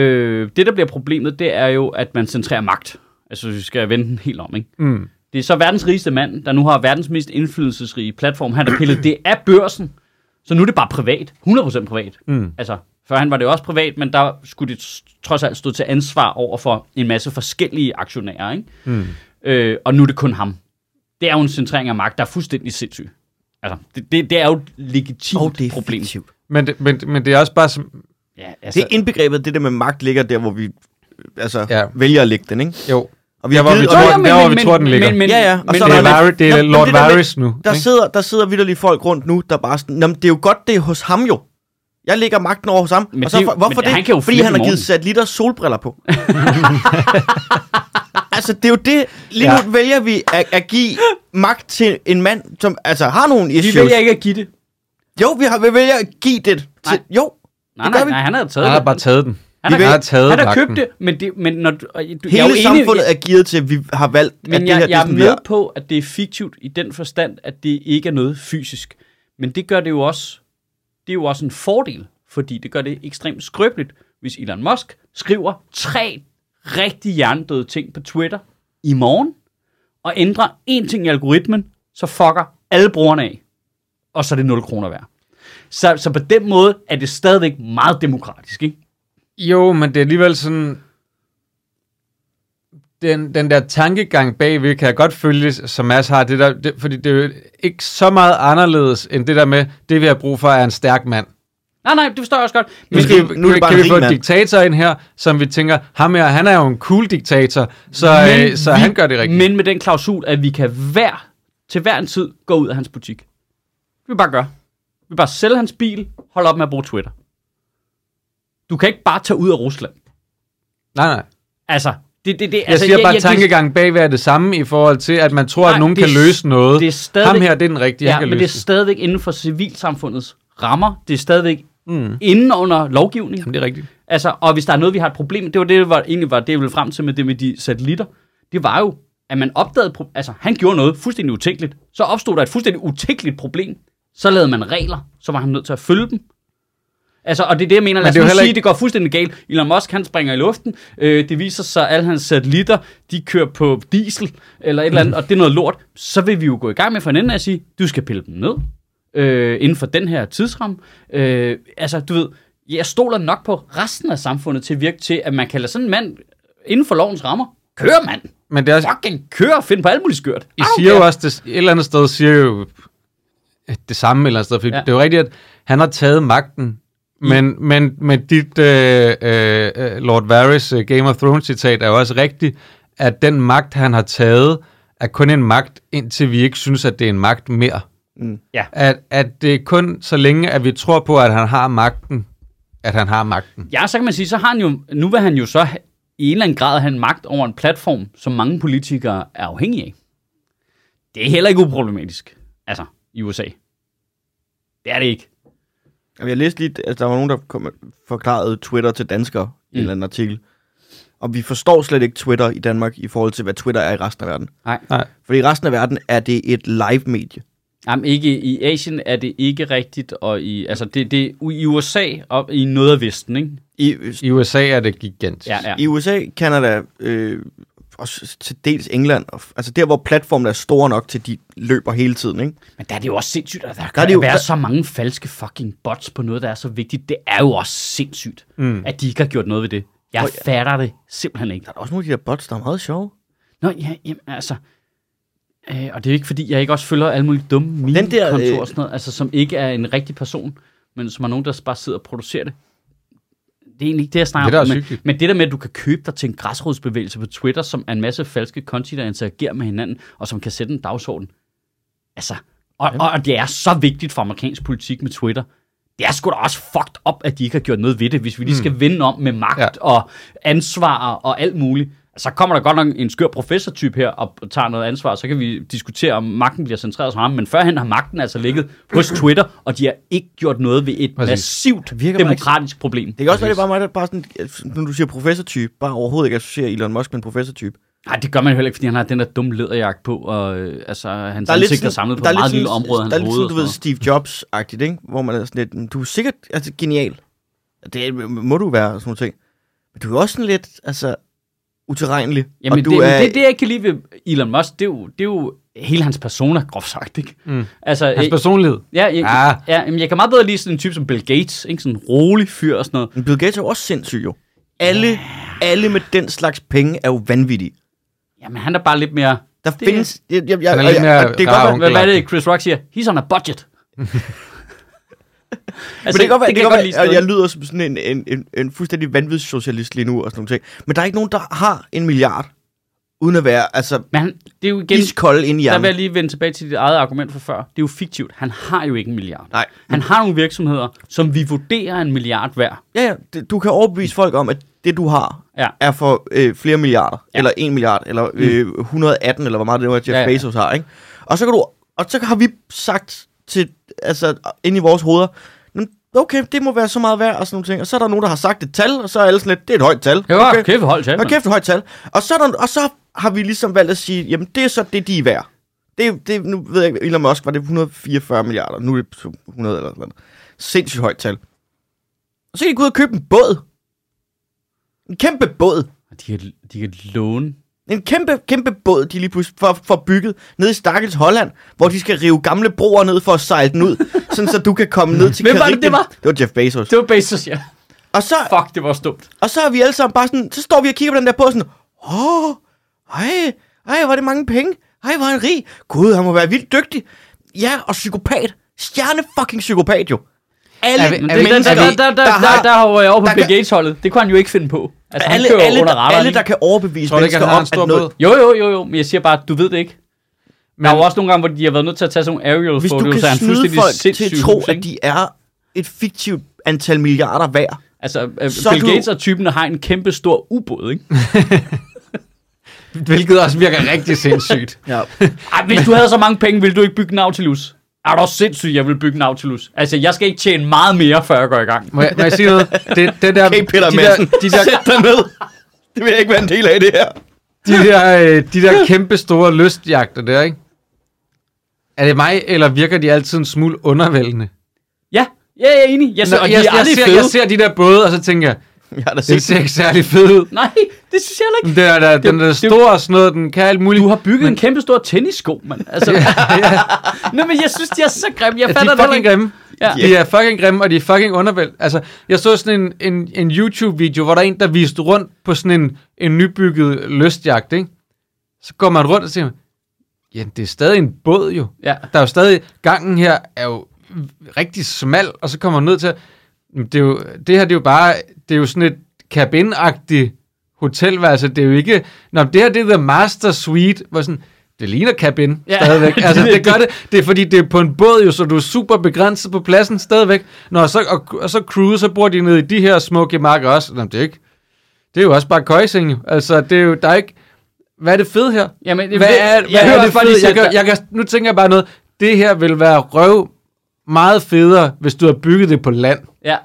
Speaker 2: Øh, det, der bliver problemet, det er jo, at man centrerer magt. Altså, vi skal vende den helt om, ikke?
Speaker 1: Mm.
Speaker 2: Det er så verdens rigeste mand, der nu har verdens mest indflydelsesrige platform. Han har pillet det af børsen, så nu er det bare privat. 100% privat.
Speaker 1: Mm.
Speaker 2: Altså, før han var det jo også privat, men der skulle det s- trods alt stå til ansvar over for en masse forskellige aktionærer, ikke?
Speaker 1: Mm.
Speaker 2: Øh, og nu er det kun ham. Det er jo en centrering af magt, der er fuldstændig sindssyg. Altså, det, det, det er jo et legitimt problem.
Speaker 3: fiktivt.
Speaker 1: Men, det, men, men det er også bare som,
Speaker 2: Ja, altså,
Speaker 3: Det er indbegrebet, det der med magt ligger der, hvor vi øh, altså,
Speaker 1: Ja.
Speaker 3: ja. vælger at lægge den, ikke?
Speaker 1: jo,
Speaker 3: Og vi
Speaker 1: Der, hvor vi
Speaker 3: givet-
Speaker 1: tror,
Speaker 3: og-
Speaker 2: Nå,
Speaker 1: den- der, hvor vi tror, den ligger.
Speaker 2: Men, men,
Speaker 3: Ja, ja, og
Speaker 2: men,
Speaker 3: så
Speaker 1: det
Speaker 3: der
Speaker 1: er,
Speaker 3: med-
Speaker 1: Larry, det
Speaker 3: Nå,
Speaker 1: er
Speaker 3: men
Speaker 1: Lord
Speaker 3: det der med-
Speaker 1: Varys nu.
Speaker 3: Der
Speaker 1: ikke?
Speaker 3: sidder, der sidder vidderlige folk rundt nu, der bare sådan, Jamen, det er jo godt, det er hos ham jo. Jeg lægger magten over hos ham.
Speaker 2: Men
Speaker 3: og så,
Speaker 2: det er jo-
Speaker 3: for- hvorfor
Speaker 2: men
Speaker 3: det?
Speaker 2: han kan jo
Speaker 3: Fordi
Speaker 2: flippe
Speaker 3: han har
Speaker 2: i
Speaker 3: givet
Speaker 2: morgen.
Speaker 3: satellitter solbriller på. altså, det er jo det. Lige nu
Speaker 1: Ja.
Speaker 3: vælger vi at, at give magt til en mand, som altså har nogle
Speaker 2: vi
Speaker 3: issues.
Speaker 2: vælger ikke at give det.
Speaker 3: Jo, vi, har, vi vælger at give det. Til,
Speaker 2: Nej.
Speaker 3: jo,
Speaker 2: Nej,
Speaker 3: gør
Speaker 2: nej,
Speaker 3: vi.
Speaker 2: nej, han havde taget
Speaker 1: Han har
Speaker 2: det.
Speaker 1: bare taget den.
Speaker 2: Han
Speaker 3: Vi
Speaker 2: har,
Speaker 3: ved-
Speaker 1: Jeg har taget
Speaker 2: han har
Speaker 1: vagten.
Speaker 2: købt det, men, det, men når, du, og du- jeg er jo
Speaker 3: Hele
Speaker 2: enig-
Speaker 3: samfundet er gearet til, at vi har valgt, at
Speaker 2: Men
Speaker 3: det
Speaker 2: jeg,
Speaker 3: her det er
Speaker 2: jeg er
Speaker 3: sådan, vi
Speaker 2: med
Speaker 3: er.
Speaker 2: på, at det er fiktivt i den forstand, at det ikke er noget fysisk. Men det gør det jo også, det er jo også en fordel, fordi det gør det ekstremt skrøbeligt, hvis Elon Musk skriver tre rigtig hjernedøde ting på Twitter i morgen, og ændrer én ting i algoritmen, så fucker alle brugerne af, og så er det 0 kroner værd. Så, så på den måde er det stadigvæk meget demokratisk, ikke?
Speaker 1: Jo, men det er alligevel sådan... Den, den der tankegang bagved kan jeg godt følge, som Mads har, det der, det, fordi det er jo ikke så meget anderledes, end det der med, det vi har brug for er en stærk mand.
Speaker 2: Nej, nej, det forstår jeg også godt.
Speaker 1: Nu,
Speaker 2: Men,
Speaker 1: skal,
Speaker 3: nu er
Speaker 1: vi,
Speaker 3: det
Speaker 1: nu kan
Speaker 3: bare en
Speaker 1: vi
Speaker 3: rig
Speaker 1: få en
Speaker 3: mand.
Speaker 1: diktator ind her, som vi tænker, ham her, han er jo en cool diktator, så,
Speaker 2: Men
Speaker 1: øh, så
Speaker 2: vi-
Speaker 1: han gør det rigtigt.
Speaker 2: Men med den klausul, at vi kan hver, til hver en tid gå ud af hans butik. Det vil vi bare gøre. Vi vil bare sælge hans bil, holde op med at bruge Twitter. Du kan ikke bare tage ud af Rusland.
Speaker 1: Nej, nej.
Speaker 2: Altså, det, det, det,
Speaker 1: Jeg
Speaker 2: altså,
Speaker 1: siger bare, at
Speaker 2: det-
Speaker 1: tankegangen bagved er det samme i forhold til, at man tror,
Speaker 2: Nej,
Speaker 1: at nogen
Speaker 2: det er
Speaker 1: kan
Speaker 2: s-
Speaker 1: løse noget.
Speaker 2: det er stadig-
Speaker 1: Ham her, det er den rigtige,
Speaker 2: Ja,
Speaker 1: han kan
Speaker 2: men
Speaker 1: løse
Speaker 2: det er stadigvæk inden for civilsamfundets rammer. Det er stadigvæk mm. inden under lovgivning.
Speaker 1: Jamen, det er rigtigt.
Speaker 2: Altså, og hvis der er noget, vi har et problem, det var det, var, egentlig var det, jeg ville frem til med det med de satellitter. Det var jo, at man opdagede, pro- altså han gjorde noget fuldstændig utænkeligt. Så opstod der et fuldstændig utænkeligt problem. Så lavede man regler, så var han nødt til at følge dem. Altså, og det er det, jeg mener. Lad os
Speaker 1: det er jo
Speaker 2: nu
Speaker 1: heller
Speaker 2: sige,
Speaker 1: ikke-
Speaker 2: det går fuldstændig galt. Elon Musk, han springer i luften. Øh, det viser sig, at alle hans satellitter, de kører på diesel eller et eller andet, og det er noget lort. Så vil vi jo gå i gang med for en ende af at sige, du skal pille dem ned øh, inden for den her tidsramme. Øh, altså, du ved, jeg stoler nok på resten af samfundet til at virke til, at man kan lade sådan en mand inden for lovens rammer køre, mand.
Speaker 1: Men det er også,
Speaker 2: Fucking køre og finde på alt muligt skørt.
Speaker 1: I
Speaker 2: Ah,
Speaker 1: siger
Speaker 2: okay.
Speaker 1: jo også, det, et eller andet sted siger jo det samme et eller andet sted, fordi
Speaker 2: Ja.
Speaker 1: ja. det er jo rigtigt, at han har taget magten, men, men, men dit øh, øh, øh, Lord Varys øh, Game of Thrones citat er jo også rigtigt, at den magt, han har taget, er kun en magt, indtil vi ikke synes, at det er en magt mere.
Speaker 3: Mm.
Speaker 2: Ja.
Speaker 1: At, at det er kun så længe, at vi tror på, at han har magten, at han har magten.
Speaker 2: Ja, så kan man sige, så har han jo, nu vil han jo så ha- i en eller anden grad have en magt over en platform, som mange politikere er afhængige af. Det er heller ikke uproblematisk. Altså, i USA. Det er det ikke.
Speaker 3: Jamen, jeg læste lige, at altså, der var nogen, der kom, forklarede Twitter til danskere i
Speaker 2: Mm.
Speaker 3: en eller anden artikel. Og vi forstår slet ikke Twitter i Danmark i forhold til, hvad Twitter er i resten af verden.
Speaker 2: Nej.
Speaker 1: Nej.
Speaker 3: Fordi i resten af verden er det et live-medie.
Speaker 2: Jamen, ikke i Asien er det ikke rigtigt, og i, altså, det, det i USA og i noget af Vesten, ikke?
Speaker 3: I,
Speaker 1: I USA er det gigantisk.
Speaker 2: Ja, ja.
Speaker 3: I USA, Kanada, øh, og s- til dels England, og f- altså der, hvor platformen er store nok til, de løber hele tiden, ikke?
Speaker 2: Men der er det jo også sindssygt, at der,
Speaker 3: Der
Speaker 2: kan
Speaker 3: er
Speaker 2: der
Speaker 3: det jo-
Speaker 2: være
Speaker 3: der-
Speaker 2: så mange falske fucking bots på noget, der er så vigtigt. Det er jo også sindssygt, mm. at de ikke har gjort noget ved det. Jeg
Speaker 3: Prøv-
Speaker 2: fatter det simpelthen ikke.
Speaker 3: Der er også nogle af de der bots, der er meget sjove.
Speaker 2: Nå, ja, jamen, altså... Øh, og det er jo ikke, fordi jeg ikke også følger alle mulige dumme meme
Speaker 3: der,
Speaker 2: kontor
Speaker 3: øh,
Speaker 2: og sådan noget, altså, som ikke er en rigtig person, men som er nogen, der bare sidder og producerer det. Det er egentlig ikke det, jeg snakker
Speaker 1: Det er da
Speaker 2: om.
Speaker 1: også
Speaker 2: Men,
Speaker 1: hyggeligt.
Speaker 2: men det der med, at du kan købe dig til en græsrodsbevægelse på Twitter, som er en masse falske konti, der interagerer med hinanden, og som kan sætte en dagsorden. Altså, og, og, og det er så vigtigt for amerikansk politik med Twitter. Det er sgu da også fucked up, at de ikke har gjort noget ved det, hvis
Speaker 3: Mm.
Speaker 2: vi lige skal vende om med magt ja.
Speaker 1: Ja.
Speaker 2: og ansvar og alt muligt. Så kommer der godt nok en skør professortype her og tager noget ansvar, så kan vi diskutere, om magten bliver centreret hos ham. Men førhen har magten altså ligget hos Twitter, og de har ikke gjort noget ved et
Speaker 1: Præcis.
Speaker 2: massivt
Speaker 3: virker bare
Speaker 2: demokratisk problem.
Speaker 3: Det kan også være, det er bare mig, der bare sådan, at når du siger professortype, bare overhovedet ikke associerer Elon Musk med en professortype.
Speaker 2: Nej, det gør man jo heller ikke, fordi han har den der dumme læderjagt på, og øh, altså, hans
Speaker 3: lidt
Speaker 2: ansigt er
Speaker 3: sådan-
Speaker 2: samlet på
Speaker 3: der
Speaker 2: et
Speaker 3: lidt
Speaker 2: meget lille
Speaker 3: sådan-
Speaker 2: område af
Speaker 3: Der er
Speaker 2: hans
Speaker 3: lidt
Speaker 2: hoved. og
Speaker 3: sådan, du
Speaker 2: sådan
Speaker 3: ved,
Speaker 2: noget.
Speaker 3: Steve Jobs-agtigt, ikke? Hvor man er sådan lidt, "Men du er sikkert altså, genial. Det må du være, og sådan nogle ting. Men du er også sådan lidt, altså, uterrenelig.
Speaker 2: Jamen,
Speaker 3: og du
Speaker 2: det,
Speaker 3: er,
Speaker 2: er... det, det, jeg kan lide ved Elon Musk, det er jo, det er jo hele hans persona, groft sagt, ikke?
Speaker 1: Mm.
Speaker 2: Altså,
Speaker 1: Hans
Speaker 2: øh,
Speaker 1: personlighed.
Speaker 2: ja, jeg,
Speaker 1: Ah.
Speaker 2: ja, jamen, jeg kan meget bedre lide sådan en type som Bill Gates, ikke? Sådan en rolig fyr og sådan noget.
Speaker 3: Men Bill Gates er jo også sindssyg, jo. Alle, yeah. alle med den slags penge er jo vanvittige.
Speaker 2: Jamen, han er bare lidt mere...
Speaker 3: Der
Speaker 2: Det-
Speaker 3: det, findes... Jeg, jeg, jeg,
Speaker 1: Han er
Speaker 3: og
Speaker 1: lidt
Speaker 3: jeg-
Speaker 1: mere
Speaker 3: og det
Speaker 1: rar
Speaker 3: kan godt være,
Speaker 1: onkel.
Speaker 2: Hvad, hvad er det, Chris Rock siger? He's on a budget.
Speaker 3: men
Speaker 2: altså,
Speaker 3: det kan godt være, det kan
Speaker 2: jeg
Speaker 3: godt
Speaker 2: lide
Speaker 3: være at jeg
Speaker 2: stadig.
Speaker 3: lyder som sådan en, en, en, en fuldstændig vanvittig socialist lige nu og sådan nogle ting. Men der er ikke nogen, der har en milliard, uden at være altså,
Speaker 2: Men han, det er jo igen...
Speaker 3: iskold inde i
Speaker 2: Der vil jeg
Speaker 3: hjernen.
Speaker 2: lige vende tilbage til dit eget argument fra før. Det er jo fiktivt. Han har jo ikke en milliard.
Speaker 3: Nej.
Speaker 2: Han har nogle virksomheder, som vi vurderer er en milliard værd.
Speaker 3: Ja, ja, det- du kan overbevise folk om, at det, du har,
Speaker 2: Ja.
Speaker 3: er for øh, flere milliarder,
Speaker 2: Ja.
Speaker 3: ja. eller en milliard, eller øh, 118, eller hvor meget det var, Jeff
Speaker 2: Ja,
Speaker 3: ja,
Speaker 2: ja.
Speaker 3: ja. Bezos har, ikke? Og så, kan du, og så har vi sagt til, altså, ind i vores hoveder, "Nå, okay, det må være så meget værd, og sådan nogle ting. Og så er der nogen, der har sagt et tal, og så er alle sådan lidt, det er et højt tal.
Speaker 2: Ja, okay. kæft, hold til,
Speaker 3: Hold kæft, et højt tal. Og så, er der, og så har vi ligesom valgt at sige, jamen det er så det, de er værd. Det, det, nu ved jeg ikke, Elon Musk var det 144 milliarder, nu er det 100 eller sådan noget. Sindssygt højt tal. Og så kan de gå ud og købe en båd. En kæmpe båd.
Speaker 2: De kan, de kan låne.
Speaker 3: En kæmpe, kæmpe båd, de lige pludselig får, får bygget nede i Stakkels Holland, hvor de skal rive gamle broer ned for at sejle den ud, sådan så du kan komme ned til
Speaker 2: Hvem var det,
Speaker 3: Caribien.
Speaker 2: det var?
Speaker 3: Det var Jeff Bezos.
Speaker 2: Det var Bezos, ja.
Speaker 3: Og så,
Speaker 2: Fuck, det var dumt.
Speaker 3: og så er vi alle sammen bare sådan, så står vi og kigger på den der båd sådan, åh, oh, ej, ej, var det mange penge. Ej, hvor er han rig. Gud, han må være vildt dygtig. Ja, og psykopat. Stjerne fucking psykopat jo. Alle
Speaker 1: Er vi- er vi-
Speaker 2: Men der, der,
Speaker 3: mennesker,
Speaker 2: der, der, der, der, der, har jo over på
Speaker 3: der
Speaker 2: Bill
Speaker 3: kan-
Speaker 2: Gates-holdet. Det kunne han jo ikke finde på. Altså, han
Speaker 3: alle,
Speaker 2: kører
Speaker 3: alle,
Speaker 2: under
Speaker 3: der,
Speaker 2: radaren.
Speaker 3: alle,
Speaker 2: ikke?
Speaker 3: der kan overbevise
Speaker 1: Tror du ikke,
Speaker 3: mennesker
Speaker 1: at han har
Speaker 3: om,
Speaker 1: en stor
Speaker 3: at noget,
Speaker 1: båd?
Speaker 2: Jo, jo, jo, jo, men jeg siger bare, du ved det ikke. Men, der er jo også nogle gange, hvor de har været nødt til at tage sådan nogle aerial
Speaker 3: hvis du
Speaker 2: photos af
Speaker 3: kan
Speaker 2: en
Speaker 3: snyde
Speaker 2: fuldstændig
Speaker 3: folk til
Speaker 2: sindssyg
Speaker 3: at tro,
Speaker 2: hus,
Speaker 3: at
Speaker 2: ikke?
Speaker 3: de er et fiktivt antal milliarder værd,
Speaker 2: Altså, øh,
Speaker 3: Så
Speaker 2: Bill
Speaker 3: er du-
Speaker 2: Gates og typen der har en kæmpe stor ubåd, ikke?
Speaker 1: Hvilket også virker rigtig sindssygt.
Speaker 3: Ja.
Speaker 2: Ej, hvis du havde så mange penge, ville du ikke bygge Nautilus? Er du også sindssyg, jeg vil bygge Nautilus? Altså, jeg skal ikke tjene meget mere, før jeg går i gang.
Speaker 1: Må jeg, må jeg sige noget? Det, det der,
Speaker 3: Okay, Peter
Speaker 1: de
Speaker 3: Madsen,
Speaker 1: der, de der,
Speaker 3: sæt dig ned. Det vil jeg ikke være en del af, det her.
Speaker 1: de der, øh, de der kæmpe store lystjagter der, ikke? Er det mig, eller virker de altid en smule undervældende?
Speaker 2: Ja, ja, jeg er enig. Jeg, så, og de
Speaker 1: jeg,
Speaker 2: er
Speaker 1: jeg,
Speaker 2: aldrig
Speaker 1: ser,
Speaker 2: fede.
Speaker 1: jeg ser de der både, og så tænker jeg,
Speaker 3: Jeg har da
Speaker 1: det
Speaker 3: set
Speaker 1: ser ikke særlig fedt ud.
Speaker 2: Nej, det synes jeg heller ikke.
Speaker 1: Den der, der, den der
Speaker 2: det-
Speaker 1: store og sådan noget, den kan alt muligt.
Speaker 2: Du har bygget en kæmpe stor tennissko, mand. Altså, Nå, men jeg synes, de er så grimme. Jeg
Speaker 1: Ja, de
Speaker 2: fatter
Speaker 1: er
Speaker 2: det heller
Speaker 1: fucking
Speaker 2: ikke.
Speaker 1: grimme.
Speaker 2: Ja.
Speaker 1: Ja. De er fucking grimme, og de er fucking undervæld. Altså, jeg så sådan en, en, en YouTube-video, hvor der er en, der viste rundt på sådan en, en nybygget lystjagt, ikke? Så går man rundt og siger, ja, det er stadig en båd jo.
Speaker 2: Ja.
Speaker 1: Der er jo stadig, gangen her er jo rigtig smal, og så kommer man ned til, at- Jamen, det, er jo, det her det er jo bare, det er jo sådan et cabin-agtigt hotelværelse, det er jo ikke, nå, men det her det er The Master Suite, hvor sådan, det ligner cabin
Speaker 2: Ja.
Speaker 1: ja. stadigvæk. Altså,
Speaker 2: Det-
Speaker 1: det gør det. Det er fordi, det er på en båd jo, så du er super begrænset på pladsen stadigvæk. Nå, så, og, og så cruise, så bor de nede i de her smukke marker også. Nå, men det er ikke. Det er jo også bare køjsing, jo. Altså, det er jo, der er ikke... Hvad er det fede her?
Speaker 2: Jamen,
Speaker 1: Hvad er, hvad
Speaker 2: hører
Speaker 1: er det
Speaker 2: også bare lige
Speaker 1: fede? Jeg,
Speaker 2: selv,
Speaker 1: kan,
Speaker 2: der-
Speaker 1: jeg kan, nu tænker jeg bare noget. Det her vil være røv meget federe, hvis du har bygget det på land.
Speaker 2: Ja,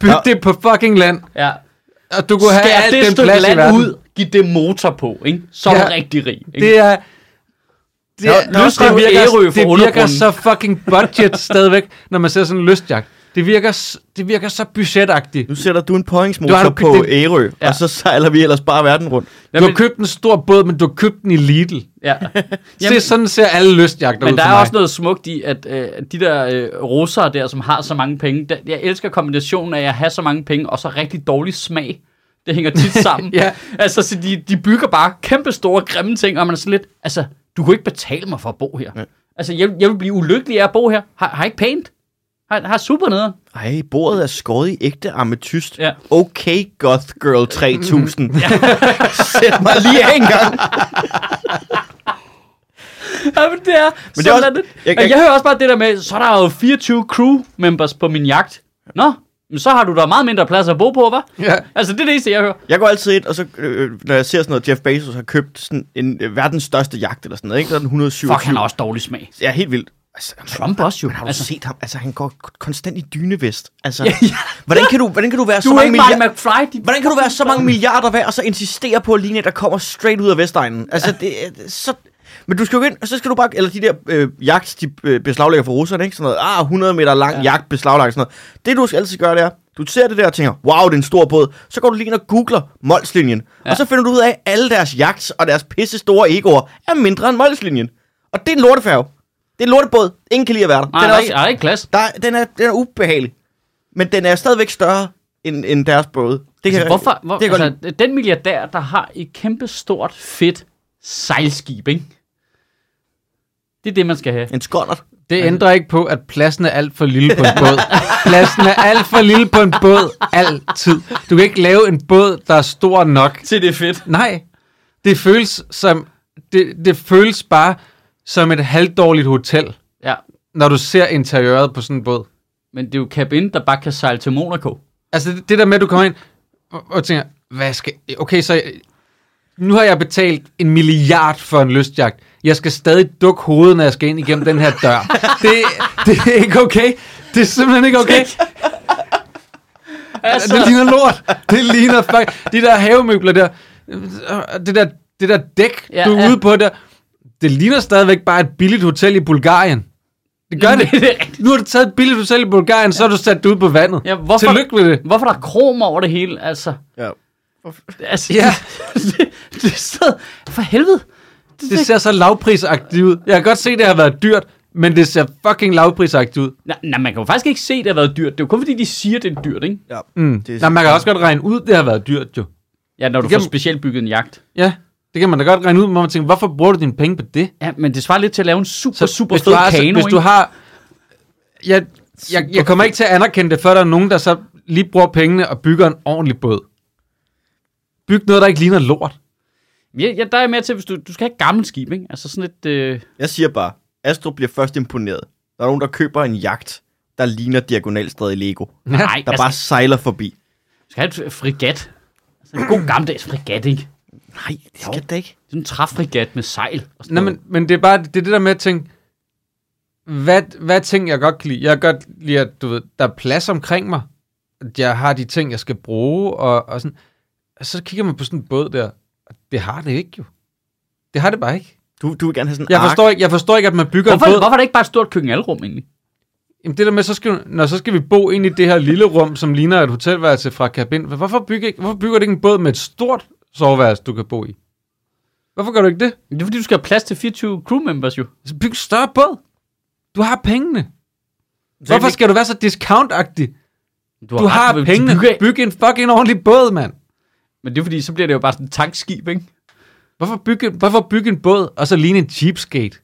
Speaker 1: Byg
Speaker 3: Ja.
Speaker 1: det på fucking land.
Speaker 2: ja.
Speaker 1: Og du kunne have
Speaker 2: Skær
Speaker 1: alt
Speaker 2: det
Speaker 1: den
Speaker 2: stykke
Speaker 1: plads i
Speaker 2: land
Speaker 1: verden.
Speaker 2: ud, giv det motor på, ikke? Så er
Speaker 1: Ja.
Speaker 2: du rigtig rig, ikke?
Speaker 1: Det er... Det,
Speaker 2: Nå,
Speaker 1: er,
Speaker 2: nå,
Speaker 1: lyst,
Speaker 2: det er
Speaker 1: det,
Speaker 2: jo Ærø
Speaker 1: virker,
Speaker 2: for
Speaker 1: det virker
Speaker 2: undergrunden.
Speaker 1: så fucking budget stadigvæk, når man ser sådan en lystjagt. Det virker, s- det virker så budgetagtigt.
Speaker 3: Nu sætter du en
Speaker 1: Du
Speaker 3: påhængsmotor
Speaker 1: har-
Speaker 3: på
Speaker 1: det-
Speaker 3: Ærø,
Speaker 2: Ja.
Speaker 3: ja. og så sejler vi ellers bare verden rundt.
Speaker 1: Du har købt en stor båd, men du har købt den i Lidl.
Speaker 2: Ja.
Speaker 1: Se, sådan ser alle lystjagter
Speaker 2: Men
Speaker 1: ud
Speaker 2: der
Speaker 1: for
Speaker 2: er
Speaker 1: mig.
Speaker 2: også noget smukt i, at øh, de der øh, russere der, som har så mange penge, der, jeg elsker kombinationen af at have så mange penge og så rigtig dårlig smag. Det hænger tit sammen.
Speaker 1: Ja.
Speaker 2: Altså, så de, de bygger bare kæmpe store, grimme ting, og man er sådan lidt, altså, du kunne ikke betale mig for at bo her. Ja. Altså, jeg, jeg vil blive ulykkelig af at bo her. Har, har ikke pænt. Har, har super nede.
Speaker 3: Ej, bordet er skåret i ægte ametyst.
Speaker 2: Ja.
Speaker 3: Okay, Goth Girl 3000. Sæt mig lige af en gang.
Speaker 2: Ja, men det er, men
Speaker 3: det
Speaker 2: det
Speaker 3: er
Speaker 2: er
Speaker 3: også-
Speaker 2: sådan, også, jeg,
Speaker 3: jeg-
Speaker 2: jeg,
Speaker 3: jeg-
Speaker 2: jeg, hører også bare det der med, så er der jo 24 crew members på min jagt. Nå, men så har du da meget mindre plads at bo på, hva'?
Speaker 1: Ja.
Speaker 2: Altså, det er det eneste, jeg hører.
Speaker 3: Jeg går altid ind, og så, øh, når jeg ser sådan noget, Jeff Bezos har købt sådan en øh, verdens største jagt eller sådan noget, ikke? Der er den 127.
Speaker 2: Fuck, han har også dårlig smag.
Speaker 3: Ja, helt vildt. Altså,
Speaker 2: Trump også jo.
Speaker 3: har du altså,
Speaker 2: Altså,
Speaker 3: set ham? Altså, han går k- konstant i dynevest. Altså, hvordan, kan du, hvordan kan du være
Speaker 2: du
Speaker 3: så
Speaker 2: er
Speaker 3: mange
Speaker 2: ikke Marty
Speaker 3: milliarder...
Speaker 2: McFly. Din...
Speaker 3: Hvordan kan du være så mange milliarder værd, og så insistere på at ligne, en, der kommer straight ud af Vestegnen? Altså, det, er- det er så... Men du skal jo ind, og så skal du bare... Eller de der øh, jagt, de øh, beslaglægger for russerne, ikke? Sådan noget, ah, 100 meter lang ja. jagt beslaglagt, sådan noget. Det, du skal altid gøre, det er, du ser det der og tænker, wow, det er en stor båd. Så går du lige ind og googler Molslinjen. Ja. Og så finder du ud af, at alle deres jagts og deres pisse store egoer er mindre end Molslinjen. Og det er en lortefærge. Det er en lortebåd. Ingen kan lide at være der.
Speaker 2: Nej,
Speaker 3: den
Speaker 2: der
Speaker 3: er
Speaker 2: er
Speaker 3: også-
Speaker 2: ikke, der er ikke plads.
Speaker 3: der, er- den, er, den er ubehagelig. Men den er stadigvæk større end, end deres både. Det
Speaker 2: Altså,
Speaker 3: kan jeg-
Speaker 2: hvorfor, hvor,
Speaker 3: det kan altså,
Speaker 2: altså, den milliardær, der har et kæmpe stort, fedt sejlskib, ikke? Det er det, man skal have.
Speaker 3: en skåndert.
Speaker 2: Altså-
Speaker 1: Det ændrer ikke på, at pladsen er alt for lille på en båd. Pladsen er alt for lille på en båd. Altid. Du kan ikke lave en båd, der er stor nok.
Speaker 2: Til det er fedt.
Speaker 1: Nej. Det føles som... Det, det føles bare som et halvdårligt hotel,
Speaker 2: Ja,
Speaker 1: når du ser interiøret på sådan en båd.
Speaker 2: men det er jo Cabin, der bare kan sejle til Monaco.
Speaker 1: Altså det, det der med, at du kommer ind og, og tænker, hvad skal... Okay, så... jeg- Nu har jeg betalt en milliard for en lystjagt. Jeg skal stadig dukke hovedet, når jeg skal ind igennem den her dør. Det, det er ikke okay. Det er simpelthen ikke okay. Altså. Det ligner lort. Det ligner faktisk... De der havemøbler der, det der, det der dæk,
Speaker 2: Ja,
Speaker 1: ja, du er
Speaker 2: ja.
Speaker 1: ja. ude på der, det ligner stadigvæk bare et billigt hotel i Bulgarien. Det gør
Speaker 2: Jamen,
Speaker 1: det.
Speaker 2: det er rigtigt.
Speaker 1: Nu har du taget et billigt hotel i Bulgarien, så har du sat det ud på vandet.
Speaker 2: Ja, hvorfor-
Speaker 1: Tillykke med det.
Speaker 2: Hvorfor er der krom over det hele, altså?
Speaker 3: Ja.
Speaker 2: altså
Speaker 1: Ja.
Speaker 2: det, det, det er så... For helvede.
Speaker 1: Det ser så lavprisagtigt ud. Jeg kan godt se, det har været dyrt, men det ser fucking lavprisagtigt ud.
Speaker 2: Nej, nej, man kan jo faktisk ikke se, det har været dyrt. Det er jo kun fordi, de siger, det er dyrt, ikke?
Speaker 3: ja.
Speaker 1: Mm.
Speaker 3: Det er
Speaker 1: Nej, man kan også godt regne ud, det har været dyrt jo.
Speaker 2: Ja, når du
Speaker 1: Det kan-
Speaker 2: får specielt bygget en jagt.
Speaker 1: Ja, det kan man da godt regne ud, men man tænker, hvorfor bruger du dine penge på det?
Speaker 2: Ja, men det svarer lidt til at lave en super, super
Speaker 1: hvis
Speaker 2: fed
Speaker 1: du har,
Speaker 2: kano,
Speaker 1: Hvis du har... Jeg, jeg, jeg kommer ikke til at anerkende det, før der er nogen, der så lige bruger pengene og bygger en ordentlig båd. Byg noget, der ikke ligner lort.
Speaker 2: ikke? Ja, ja, der er mere til, hvis du, du skal have et gammelt skib, ikke? Altså sådan et... Øh...
Speaker 3: Jeg siger bare, Astro bliver først imponeret. Der er nogen, der køber en jagt, der ligner diagonalstræde i Lego. Der
Speaker 2: Nej, altså,
Speaker 3: bare
Speaker 2: bare...
Speaker 3: sejler forbi.
Speaker 2: du skal have et frigat. Altså en god gammeldags frigat, ikke?
Speaker 3: Nej, det skal det ikke.
Speaker 2: Sådan en træfrigat med sejl. Og sådan
Speaker 1: Nej,
Speaker 2: noget.
Speaker 1: men, men det er bare det, er det der med at tænke, hvad, hvad er ting, jeg godt kan lide? Jeg kan godt lide, at du ved, der er plads omkring mig. At Jeg har de ting, jeg skal bruge, og, og sådan. Og så kigger man på sådan en båd der, og det har det ikke jo. Det har det bare ikke.
Speaker 3: Du, du vil gerne have sådan en
Speaker 1: Jeg
Speaker 3: ark.
Speaker 1: forstår ikke, jeg forstår ikke at man bygger
Speaker 2: Hvorfor,
Speaker 1: en båd.
Speaker 2: hvorfor er det ikke bare et stort køkkenalrum, egentlig?
Speaker 1: Jamen det der med, så skal, når så skal vi bo ind i det her lille rum, som ligner et hotelværelse fra Cabin. Hvorfor bygger, ikke, hvorfor bygger du ikke en båd med et stort soveværelse, du kan bo i? Hvorfor gør du ikke det?
Speaker 2: Det er fordi, du skal have plads til 24 crew members, jo.
Speaker 1: Så byg en større båd. Du har pengene. Hvorfor
Speaker 3: ikke-
Speaker 1: skal du være så discountagtig?
Speaker 2: Du
Speaker 1: Du har
Speaker 2: ret, men-
Speaker 1: pengene.
Speaker 2: du kan-
Speaker 1: Byg en fucking ordentlig båd, mand.
Speaker 2: Men det er fordi, så bliver det jo bare sådan et tankskib, ikke?
Speaker 1: Hvorfor bygge, hvorfor bygge en båd, og så ligne en cheapskate?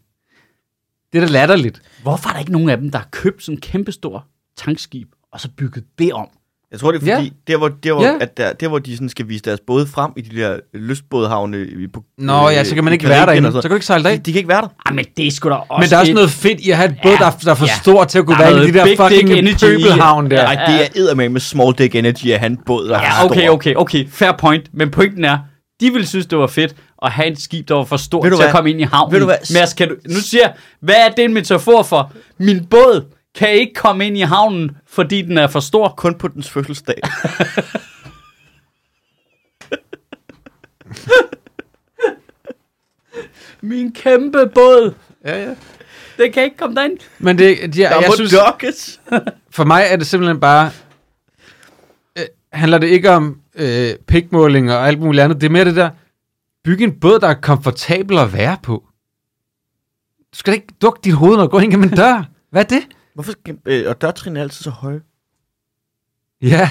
Speaker 1: Det er da latterligt.
Speaker 2: Hvorfor er der ikke nogen af dem, der har købt sådan en kæmpestor tankskib, og så bygget det om?
Speaker 3: Jeg tror, det er fordi,
Speaker 1: Ja.
Speaker 3: der, hvor, der, hvor,
Speaker 1: Ja.
Speaker 3: at der, der, hvor de sådan skal vise deres både frem i de der lystbådhavne i, på,
Speaker 1: Nå
Speaker 3: øh,
Speaker 1: ja, så kan man
Speaker 3: i
Speaker 1: ikke være
Speaker 3: Karibien
Speaker 1: derinde.
Speaker 3: og
Speaker 1: Så
Speaker 3: sådan
Speaker 1: kan du ikke sejle
Speaker 3: noget.
Speaker 1: derind.
Speaker 3: de, de, kan ikke være der.
Speaker 2: Ej, men det er sgu da også...
Speaker 1: Men der er også
Speaker 2: et-
Speaker 1: noget fedt i at have et båd,
Speaker 2: Ja,
Speaker 1: der, der er for
Speaker 2: ja.
Speaker 1: stor til at kunne
Speaker 2: Der er
Speaker 1: være i
Speaker 2: noget
Speaker 1: de der
Speaker 2: big dick
Speaker 1: fucking
Speaker 2: energy i-
Speaker 1: pøbelhavn der.
Speaker 2: Ja,
Speaker 3: Nej,
Speaker 2: ja, ja.
Speaker 3: det er eddermame med small dick energy at have en båd, der
Speaker 2: Ja, okay, okay, okay. Fair point. Men pointen er, de ville synes, det var fedt at have et skib, der var for stort
Speaker 3: Ved
Speaker 2: til
Speaker 3: du
Speaker 2: at
Speaker 3: hvad?
Speaker 2: komme ind i havnen.
Speaker 3: Ved du hvad?
Speaker 2: Mads, kan du, nu siger jeg, hvad er det en metafor for? Min båd kan ikke komme ind i havnen, fordi den er for stor.
Speaker 3: Kun på dens fødselsdag.
Speaker 2: Min kæmpe båd,
Speaker 1: Ja, ja.
Speaker 2: den kan ikke komme derind.
Speaker 1: Men det, de,
Speaker 3: Der
Speaker 1: jeg
Speaker 3: må
Speaker 1: synes,
Speaker 3: dokkes.
Speaker 1: for mig er det simpelthen bare, øh, handler det ikke om øh, pikmåling og alt muligt andet. Det er mere det der, bygge en båd, der er komfortabel at være på. Du skal da ikke dukke dit hoved, når du går ind gennem en dør. Hvad er det?
Speaker 3: Hvorfor skal, øh, og dørtrin er altid så høje?
Speaker 1: Ja,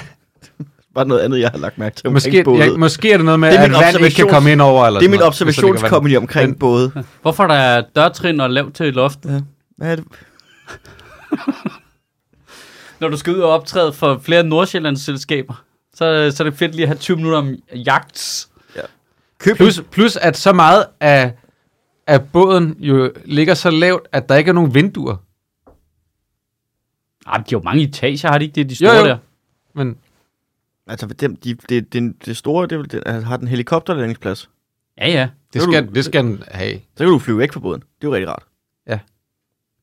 Speaker 3: Bare noget andet, jeg har lagt mærke til omkring
Speaker 1: måske,
Speaker 3: både.
Speaker 1: ja, måske er det noget med,
Speaker 3: Det er
Speaker 1: at
Speaker 3: min
Speaker 1: vand ikke kan
Speaker 3: observations-
Speaker 1: komme ind over. Eller
Speaker 3: det er
Speaker 1: sådan
Speaker 3: min
Speaker 1: noget, hvis det kan være-
Speaker 3: observationskomedy omkring
Speaker 1: Men-
Speaker 3: både.
Speaker 2: Hvorfor der er dørtrin og lavt til loft?
Speaker 3: Hvad er det?
Speaker 2: Når du skal ud og optræde for flere Nordsjællands selskaber, så, så er det fedt lige at have 20 minutter om jagt.
Speaker 3: Køb
Speaker 1: Plus, plus at så meget af, af båden jo ligger så lavt, at der ikke er nogen vinduer.
Speaker 2: Ej, men Ah, de har jo mange etager, har de ikke det, de
Speaker 1: Jo,
Speaker 2: store
Speaker 1: jo.
Speaker 2: der?
Speaker 1: Men
Speaker 3: Altså, dem, de, det, det, det store, det, er vel det altså, har den helikopterlandingsplads.
Speaker 2: Ja, ja.
Speaker 1: det
Speaker 3: er jo-
Speaker 1: skal, det skal den have.
Speaker 3: Så kan du flyve væk fra båden. Det er jo rigtig rart.
Speaker 1: Ja.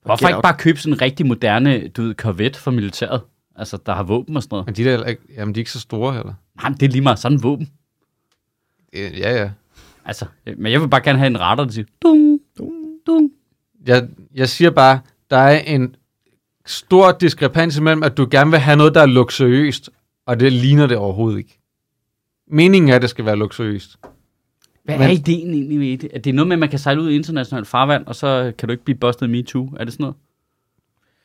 Speaker 2: Hvorfor
Speaker 3: Get
Speaker 2: ikke
Speaker 3: out.
Speaker 2: bare købe sådan en rigtig moderne, du ved, Corvette fra militæret? Altså, der har våben og sådan noget.
Speaker 1: Men de, der, er heller ikke, jamen, de er ikke så store heller.
Speaker 2: Nej, men det er lige meget sådan en våben.
Speaker 1: Øh, Ja, ja.
Speaker 2: Altså, øh, men jeg vil bare gerne have en radar, der siger, dung, dung, dung.
Speaker 1: Jeg, jeg siger bare, der er en stor diskrepans imellem, at du gerne vil have noget, der er luksuriøst, og det ligner det overhovedet ikke. Meningen er, at det skal være luksuriøst.
Speaker 2: Hvad
Speaker 1: Men-
Speaker 2: er ideen egentlig ved det? Er det noget med, at man kan sejle ud i internationalt farvand, og så kan du ikke blive bustet af MeToo? Er det sådan noget?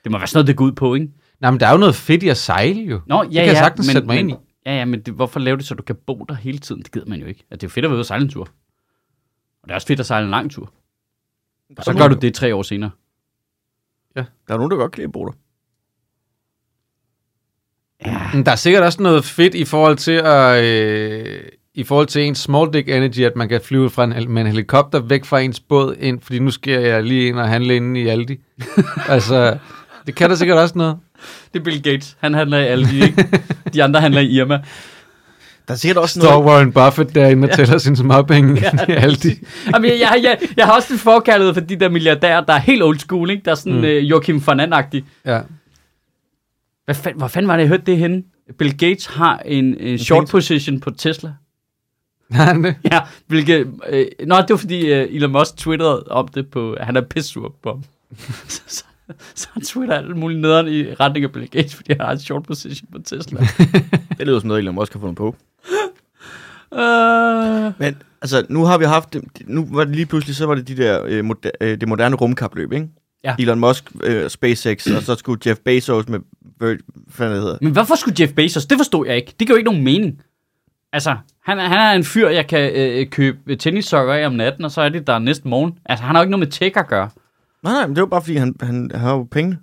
Speaker 2: Det må være sådan noget, det går ud på, ikke?
Speaker 1: Nej, men der er jo noget fedt i at sejle jo.
Speaker 2: Nå, ja,
Speaker 1: kan
Speaker 2: ja,
Speaker 1: jeg sagtens
Speaker 2: men,
Speaker 1: sætte mig
Speaker 2: men,
Speaker 1: ind i.
Speaker 2: Ja, ja, men det, hvorfor lave det, så du kan bo der hele tiden? Det gider man jo ikke. Altså, det er jo fedt at være ude og sejle en tur. Og det er også fedt at sejle en lang tur. Og så gør du det tre år senere.
Speaker 3: Der er nogen, der godt kan lide at bo der.
Speaker 1: Men der er sikkert også noget fedt i forhold til at... Øh, i forhold til ens small dick energy, at man kan flyve fra en, hel- med en helikopter væk fra ens båd ind, fordi nu skal jeg lige ind og handle inde i Aldi. altså, det kan der sikkert også noget.
Speaker 2: Det er Bill Gates. Han handler i Aldi, ikke? De andre handler i Irma.
Speaker 3: Der er sikkert også
Speaker 1: Står
Speaker 3: noget...
Speaker 1: Warren Buffett derinde og tæller sine småpenge i Aldi.
Speaker 2: Jamen, jeg, jeg, jeg, jeg har også en forkærlighed for de der milliardærer, der er helt old school, ikke? Der er sådan mm. øh, Joachim von And-agtig.
Speaker 1: Ja.
Speaker 2: Hvad fanden, hvor fanden var det, jeg hørte det henne? Bill Gates har en, en short
Speaker 3: penge-
Speaker 2: position på Tesla.
Speaker 1: Har han det?
Speaker 2: Ja, hvilket... Øh, nå, det var fordi øh, Elon Musk twitterede om det på... Han er pissur på ham. så, så, så han twitter alt muligt nederen i retning af Bill Gates, fordi han har en short position på Tesla.
Speaker 3: Det lyder som noget, Elon Musk har fundet på.
Speaker 2: øh,
Speaker 3: Men altså, nu har vi haft, nu var det lige pludselig, så var det de der, øh, moder, øh, det moderne rumkapløb, ikke?
Speaker 2: Ja.
Speaker 3: Elon Musk, øh, SpaceX, og så skulle Jeff Bezos med, Vir- hvad fanden det hedder,
Speaker 2: men hvorfor skulle Jeff Bezos? Det forstod jeg ikke. Det gav jo ikke nogen mening. Altså, han, er- han er en fyr, jeg kan øh, købe tennissokker af om natten, og så er det der næste morgen. Altså, han har jo ikke noget med tech at gøre. Altså,
Speaker 3: Nej, nej, men det var bare, fordi han, han, han har jo penge.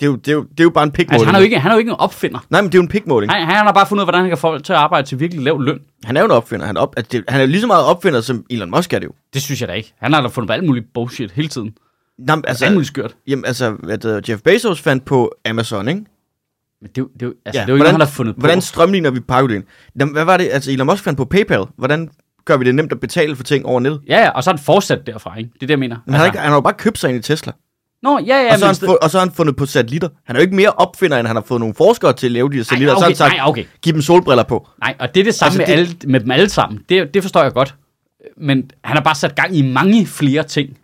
Speaker 3: Det er jo, det er jo, det er jo bare en pikmåling.
Speaker 2: Altså, han er jo ikke, han er jo ikke en opfinder.
Speaker 3: Nej, men det er jo en pikmåling.
Speaker 2: Han, han har bare fundet ud af, hvordan han kan få folk til at arbejde til virkelig lav løn.
Speaker 3: Han er jo en opfinder. Han er, op, altså, det, han er jo lige så meget opfinder, som Elon Musk er det jo.
Speaker 2: Det synes jeg da ikke. Han har da fundet på alt muligt bullshit hele tiden.
Speaker 3: Nej, men, altså,
Speaker 2: Altså, alt muligt skørt.
Speaker 3: jamen, altså hvad det hedder, Jeff Bezos fandt på Amazon, ikke?
Speaker 2: Men det, er jo- det, er jo- altså, ja, det er jo ikke
Speaker 3: hvordan,
Speaker 2: noget, han har fundet på.
Speaker 3: Hvordan strømligner vi pakkeuddelingen? Jamen, Hvad var det? Altså, Elon Musk fandt på PayPal. Hvordan gør vi det nemt at betale for ting over nettet?
Speaker 2: Ja, ja, og så er han fortsat derfra, ikke? Det er det, jeg mener. Altså,
Speaker 3: Men han, har ikke, han har jo bare købt sig ind i Tesla.
Speaker 2: Nå, ja, ja,
Speaker 3: og, så har
Speaker 2: men...
Speaker 3: han, fu- og så har han fundet på satellitter. Han er jo ikke mere opfinder, end han har fået nogle forskere til at lave de her satellitter.
Speaker 2: Ej, okay,
Speaker 3: og så har han sagt,
Speaker 2: ej, okay.
Speaker 3: giv dem solbriller på.
Speaker 2: Nej, og det er det samme
Speaker 3: Altså,
Speaker 2: altså, med, alle, med dem alle sammen. Det, det forstår jeg godt. Men han har bare sat gang i mange flere ting.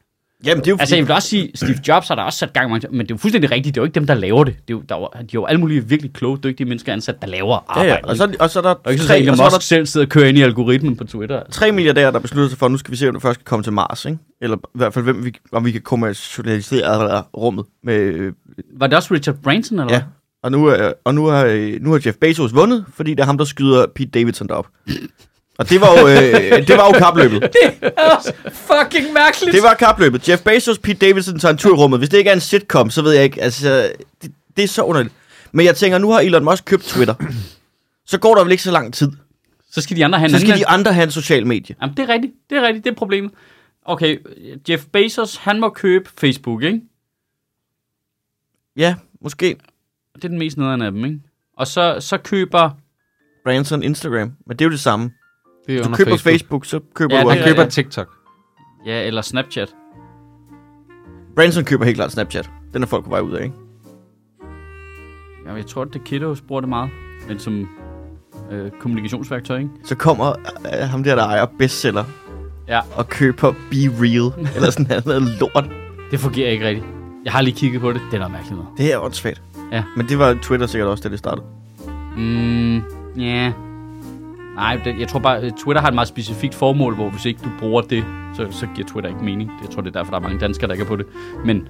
Speaker 3: Jamen, det er jo
Speaker 2: Altså, jeg vil også sige, Steve Jobs har der også sat gang i mange ting, men det er jo fuldstændig rigtigt. Det er jo ikke dem, der laver det. Det er jo, der er jo, de er jo alle mulige virkelig kloge, dygtige mennesker ansat, der laver
Speaker 3: Ja,
Speaker 2: arbejdet.
Speaker 3: ja. Og, så, og så er der
Speaker 2: og ikke så,
Speaker 3: tre-
Speaker 2: at Elon
Speaker 3: og så er
Speaker 2: Musk
Speaker 3: der
Speaker 2: selv sidder og kører ind i algoritmen på Twitter. Altså.
Speaker 3: tre milliardærer, der beslutter sig for, at nu skal vi se, om det først kan komme til Mars, ikke? Eller i hvert fald, hvem vi, om vi kan kommercialisere eller rummet. Med, øh,
Speaker 2: Var det også Richard Branson, eller
Speaker 3: ja. Og, nu, er, og nu, har, øh, nu har Jeff Bezos vundet, fordi det er ham, der skyder Pete Davidson derop. Og det var jo, øh, det var jo kapløbet.
Speaker 2: Det er også fucking mærkeligt.
Speaker 3: Det var kapløbet. Jeff Bezos, Pete Davidson tager en tur i rummet. Hvis det ikke er en sitcom, så ved jeg ikke. Altså, det, det er så underligt. Men jeg tænker, nu har Elon Musk købt Twitter. Så går der vel ikke så lang tid.
Speaker 2: Så skal de andre have en
Speaker 3: Så skal
Speaker 2: anden-
Speaker 3: de andre have en social medie.
Speaker 2: Jamen, det er rigtigt. Det er rigtigt. Det er problemet. Okay, Jeff Bezos, han må købe Facebook, ikke?
Speaker 3: Ja, måske.
Speaker 2: Det er den mest nederen af dem, ikke? Og så, så køber...
Speaker 3: Branson Instagram. Men det er jo det samme.
Speaker 1: det er
Speaker 3: Du
Speaker 1: under
Speaker 3: køber Facebook, Facebook så køber
Speaker 2: Ja,
Speaker 3: ja, du
Speaker 2: det
Speaker 1: Han
Speaker 2: er-
Speaker 3: også.
Speaker 1: køber
Speaker 2: Ja, ja.
Speaker 1: TikTok.
Speaker 2: Ja, eller Snapchat.
Speaker 3: Branson køber helt klart Snapchat. Den er folk på vej ud af, ikke?
Speaker 2: Jamen, jeg tror, at det kiddos bruger det meget. Men som øh, kommunikationsværktøj, ikke?
Speaker 3: Så kommer øh, ham der, der ejer bestseller
Speaker 2: Ja,
Speaker 3: og køber Be Real. eller sådan noget, noget lort.
Speaker 2: det fungerer ikke rigtigt. Jeg har lige kigget på det. Det er noget mærkeligt noget.
Speaker 3: Det er åndssvagt.
Speaker 2: Ja.
Speaker 3: Men det var Twitter sikkert også, da det startede.
Speaker 2: Mm, ja. Yeah. Nej, det, jeg tror bare, øh, Twitter har et meget specifikt formål, hvor hvis ikke du bruger det, så, så giver Twitter ikke mening. Jeg tror, det er derfor, der er mange danskere, der ikke er på det. Men,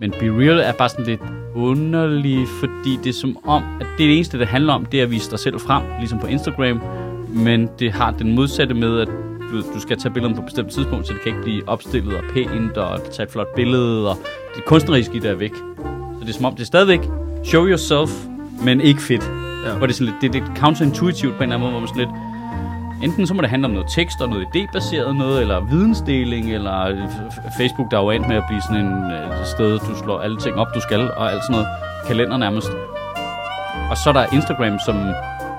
Speaker 2: men Be Real er bare sådan lidt underlig, fordi det er som om, at det, er det eneste, det handler om, det er at vise dig selv frem, ligesom på Instagram. Men det har den modsatte med, at du, ved, du skal tage billederne på et bestemt tidspunkt, så det kan ikke blive opstillet og pænt, og tage et flot billede, og det kunstneriske i det er væk. Så det er som om, det er stadigvæk show yourself, men ikke fedt. Ja. Hvor det er sådan lidt, det, det er lidt counterintuitivt på en eller anden måde, hvor man sådan lidt, Enten så må det handle om noget tekst og noget idébaseret noget, eller vidensdeling, eller f- f- Facebook, der er jo endt med at blive sådan en øh, sted, du slår alle ting op, du skal, og alt sådan noget. Kalender nærmest. Og så er der Instagram, som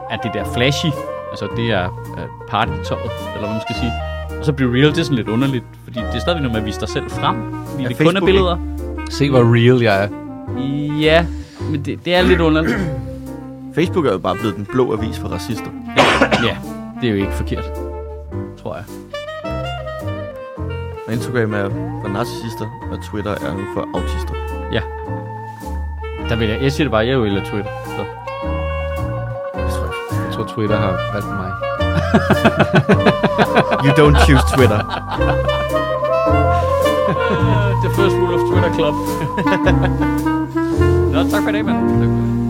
Speaker 2: er det der flashy, altså det er øh, partytøjet, eller hvad man skal sige. Og så bliver real, det er sådan lidt underligt, fordi det er stadigvæk noget med at vise dig selv frem, fordi
Speaker 3: Er
Speaker 2: det kun er
Speaker 3: Facebook
Speaker 2: billeder.
Speaker 1: Se, hvor real jeg er.
Speaker 2: Ja, men det, det er lidt underligt.
Speaker 3: Facebook er jo bare blevet den blå avis for racister.
Speaker 2: ja, det er jo ikke forkert, tror jeg.
Speaker 3: Og Instagram er for narcissister, og Twitter er nu for autister.
Speaker 2: Ja. Der vil jeg, jeg siger det bare, jeg vælger Twitter. Så.
Speaker 1: Jeg tror, jeg tror Twitter har valgt mig.
Speaker 3: You don't choose Twitter.
Speaker 2: The first rule of Twitter Club. Nå, tak for i dag, mand.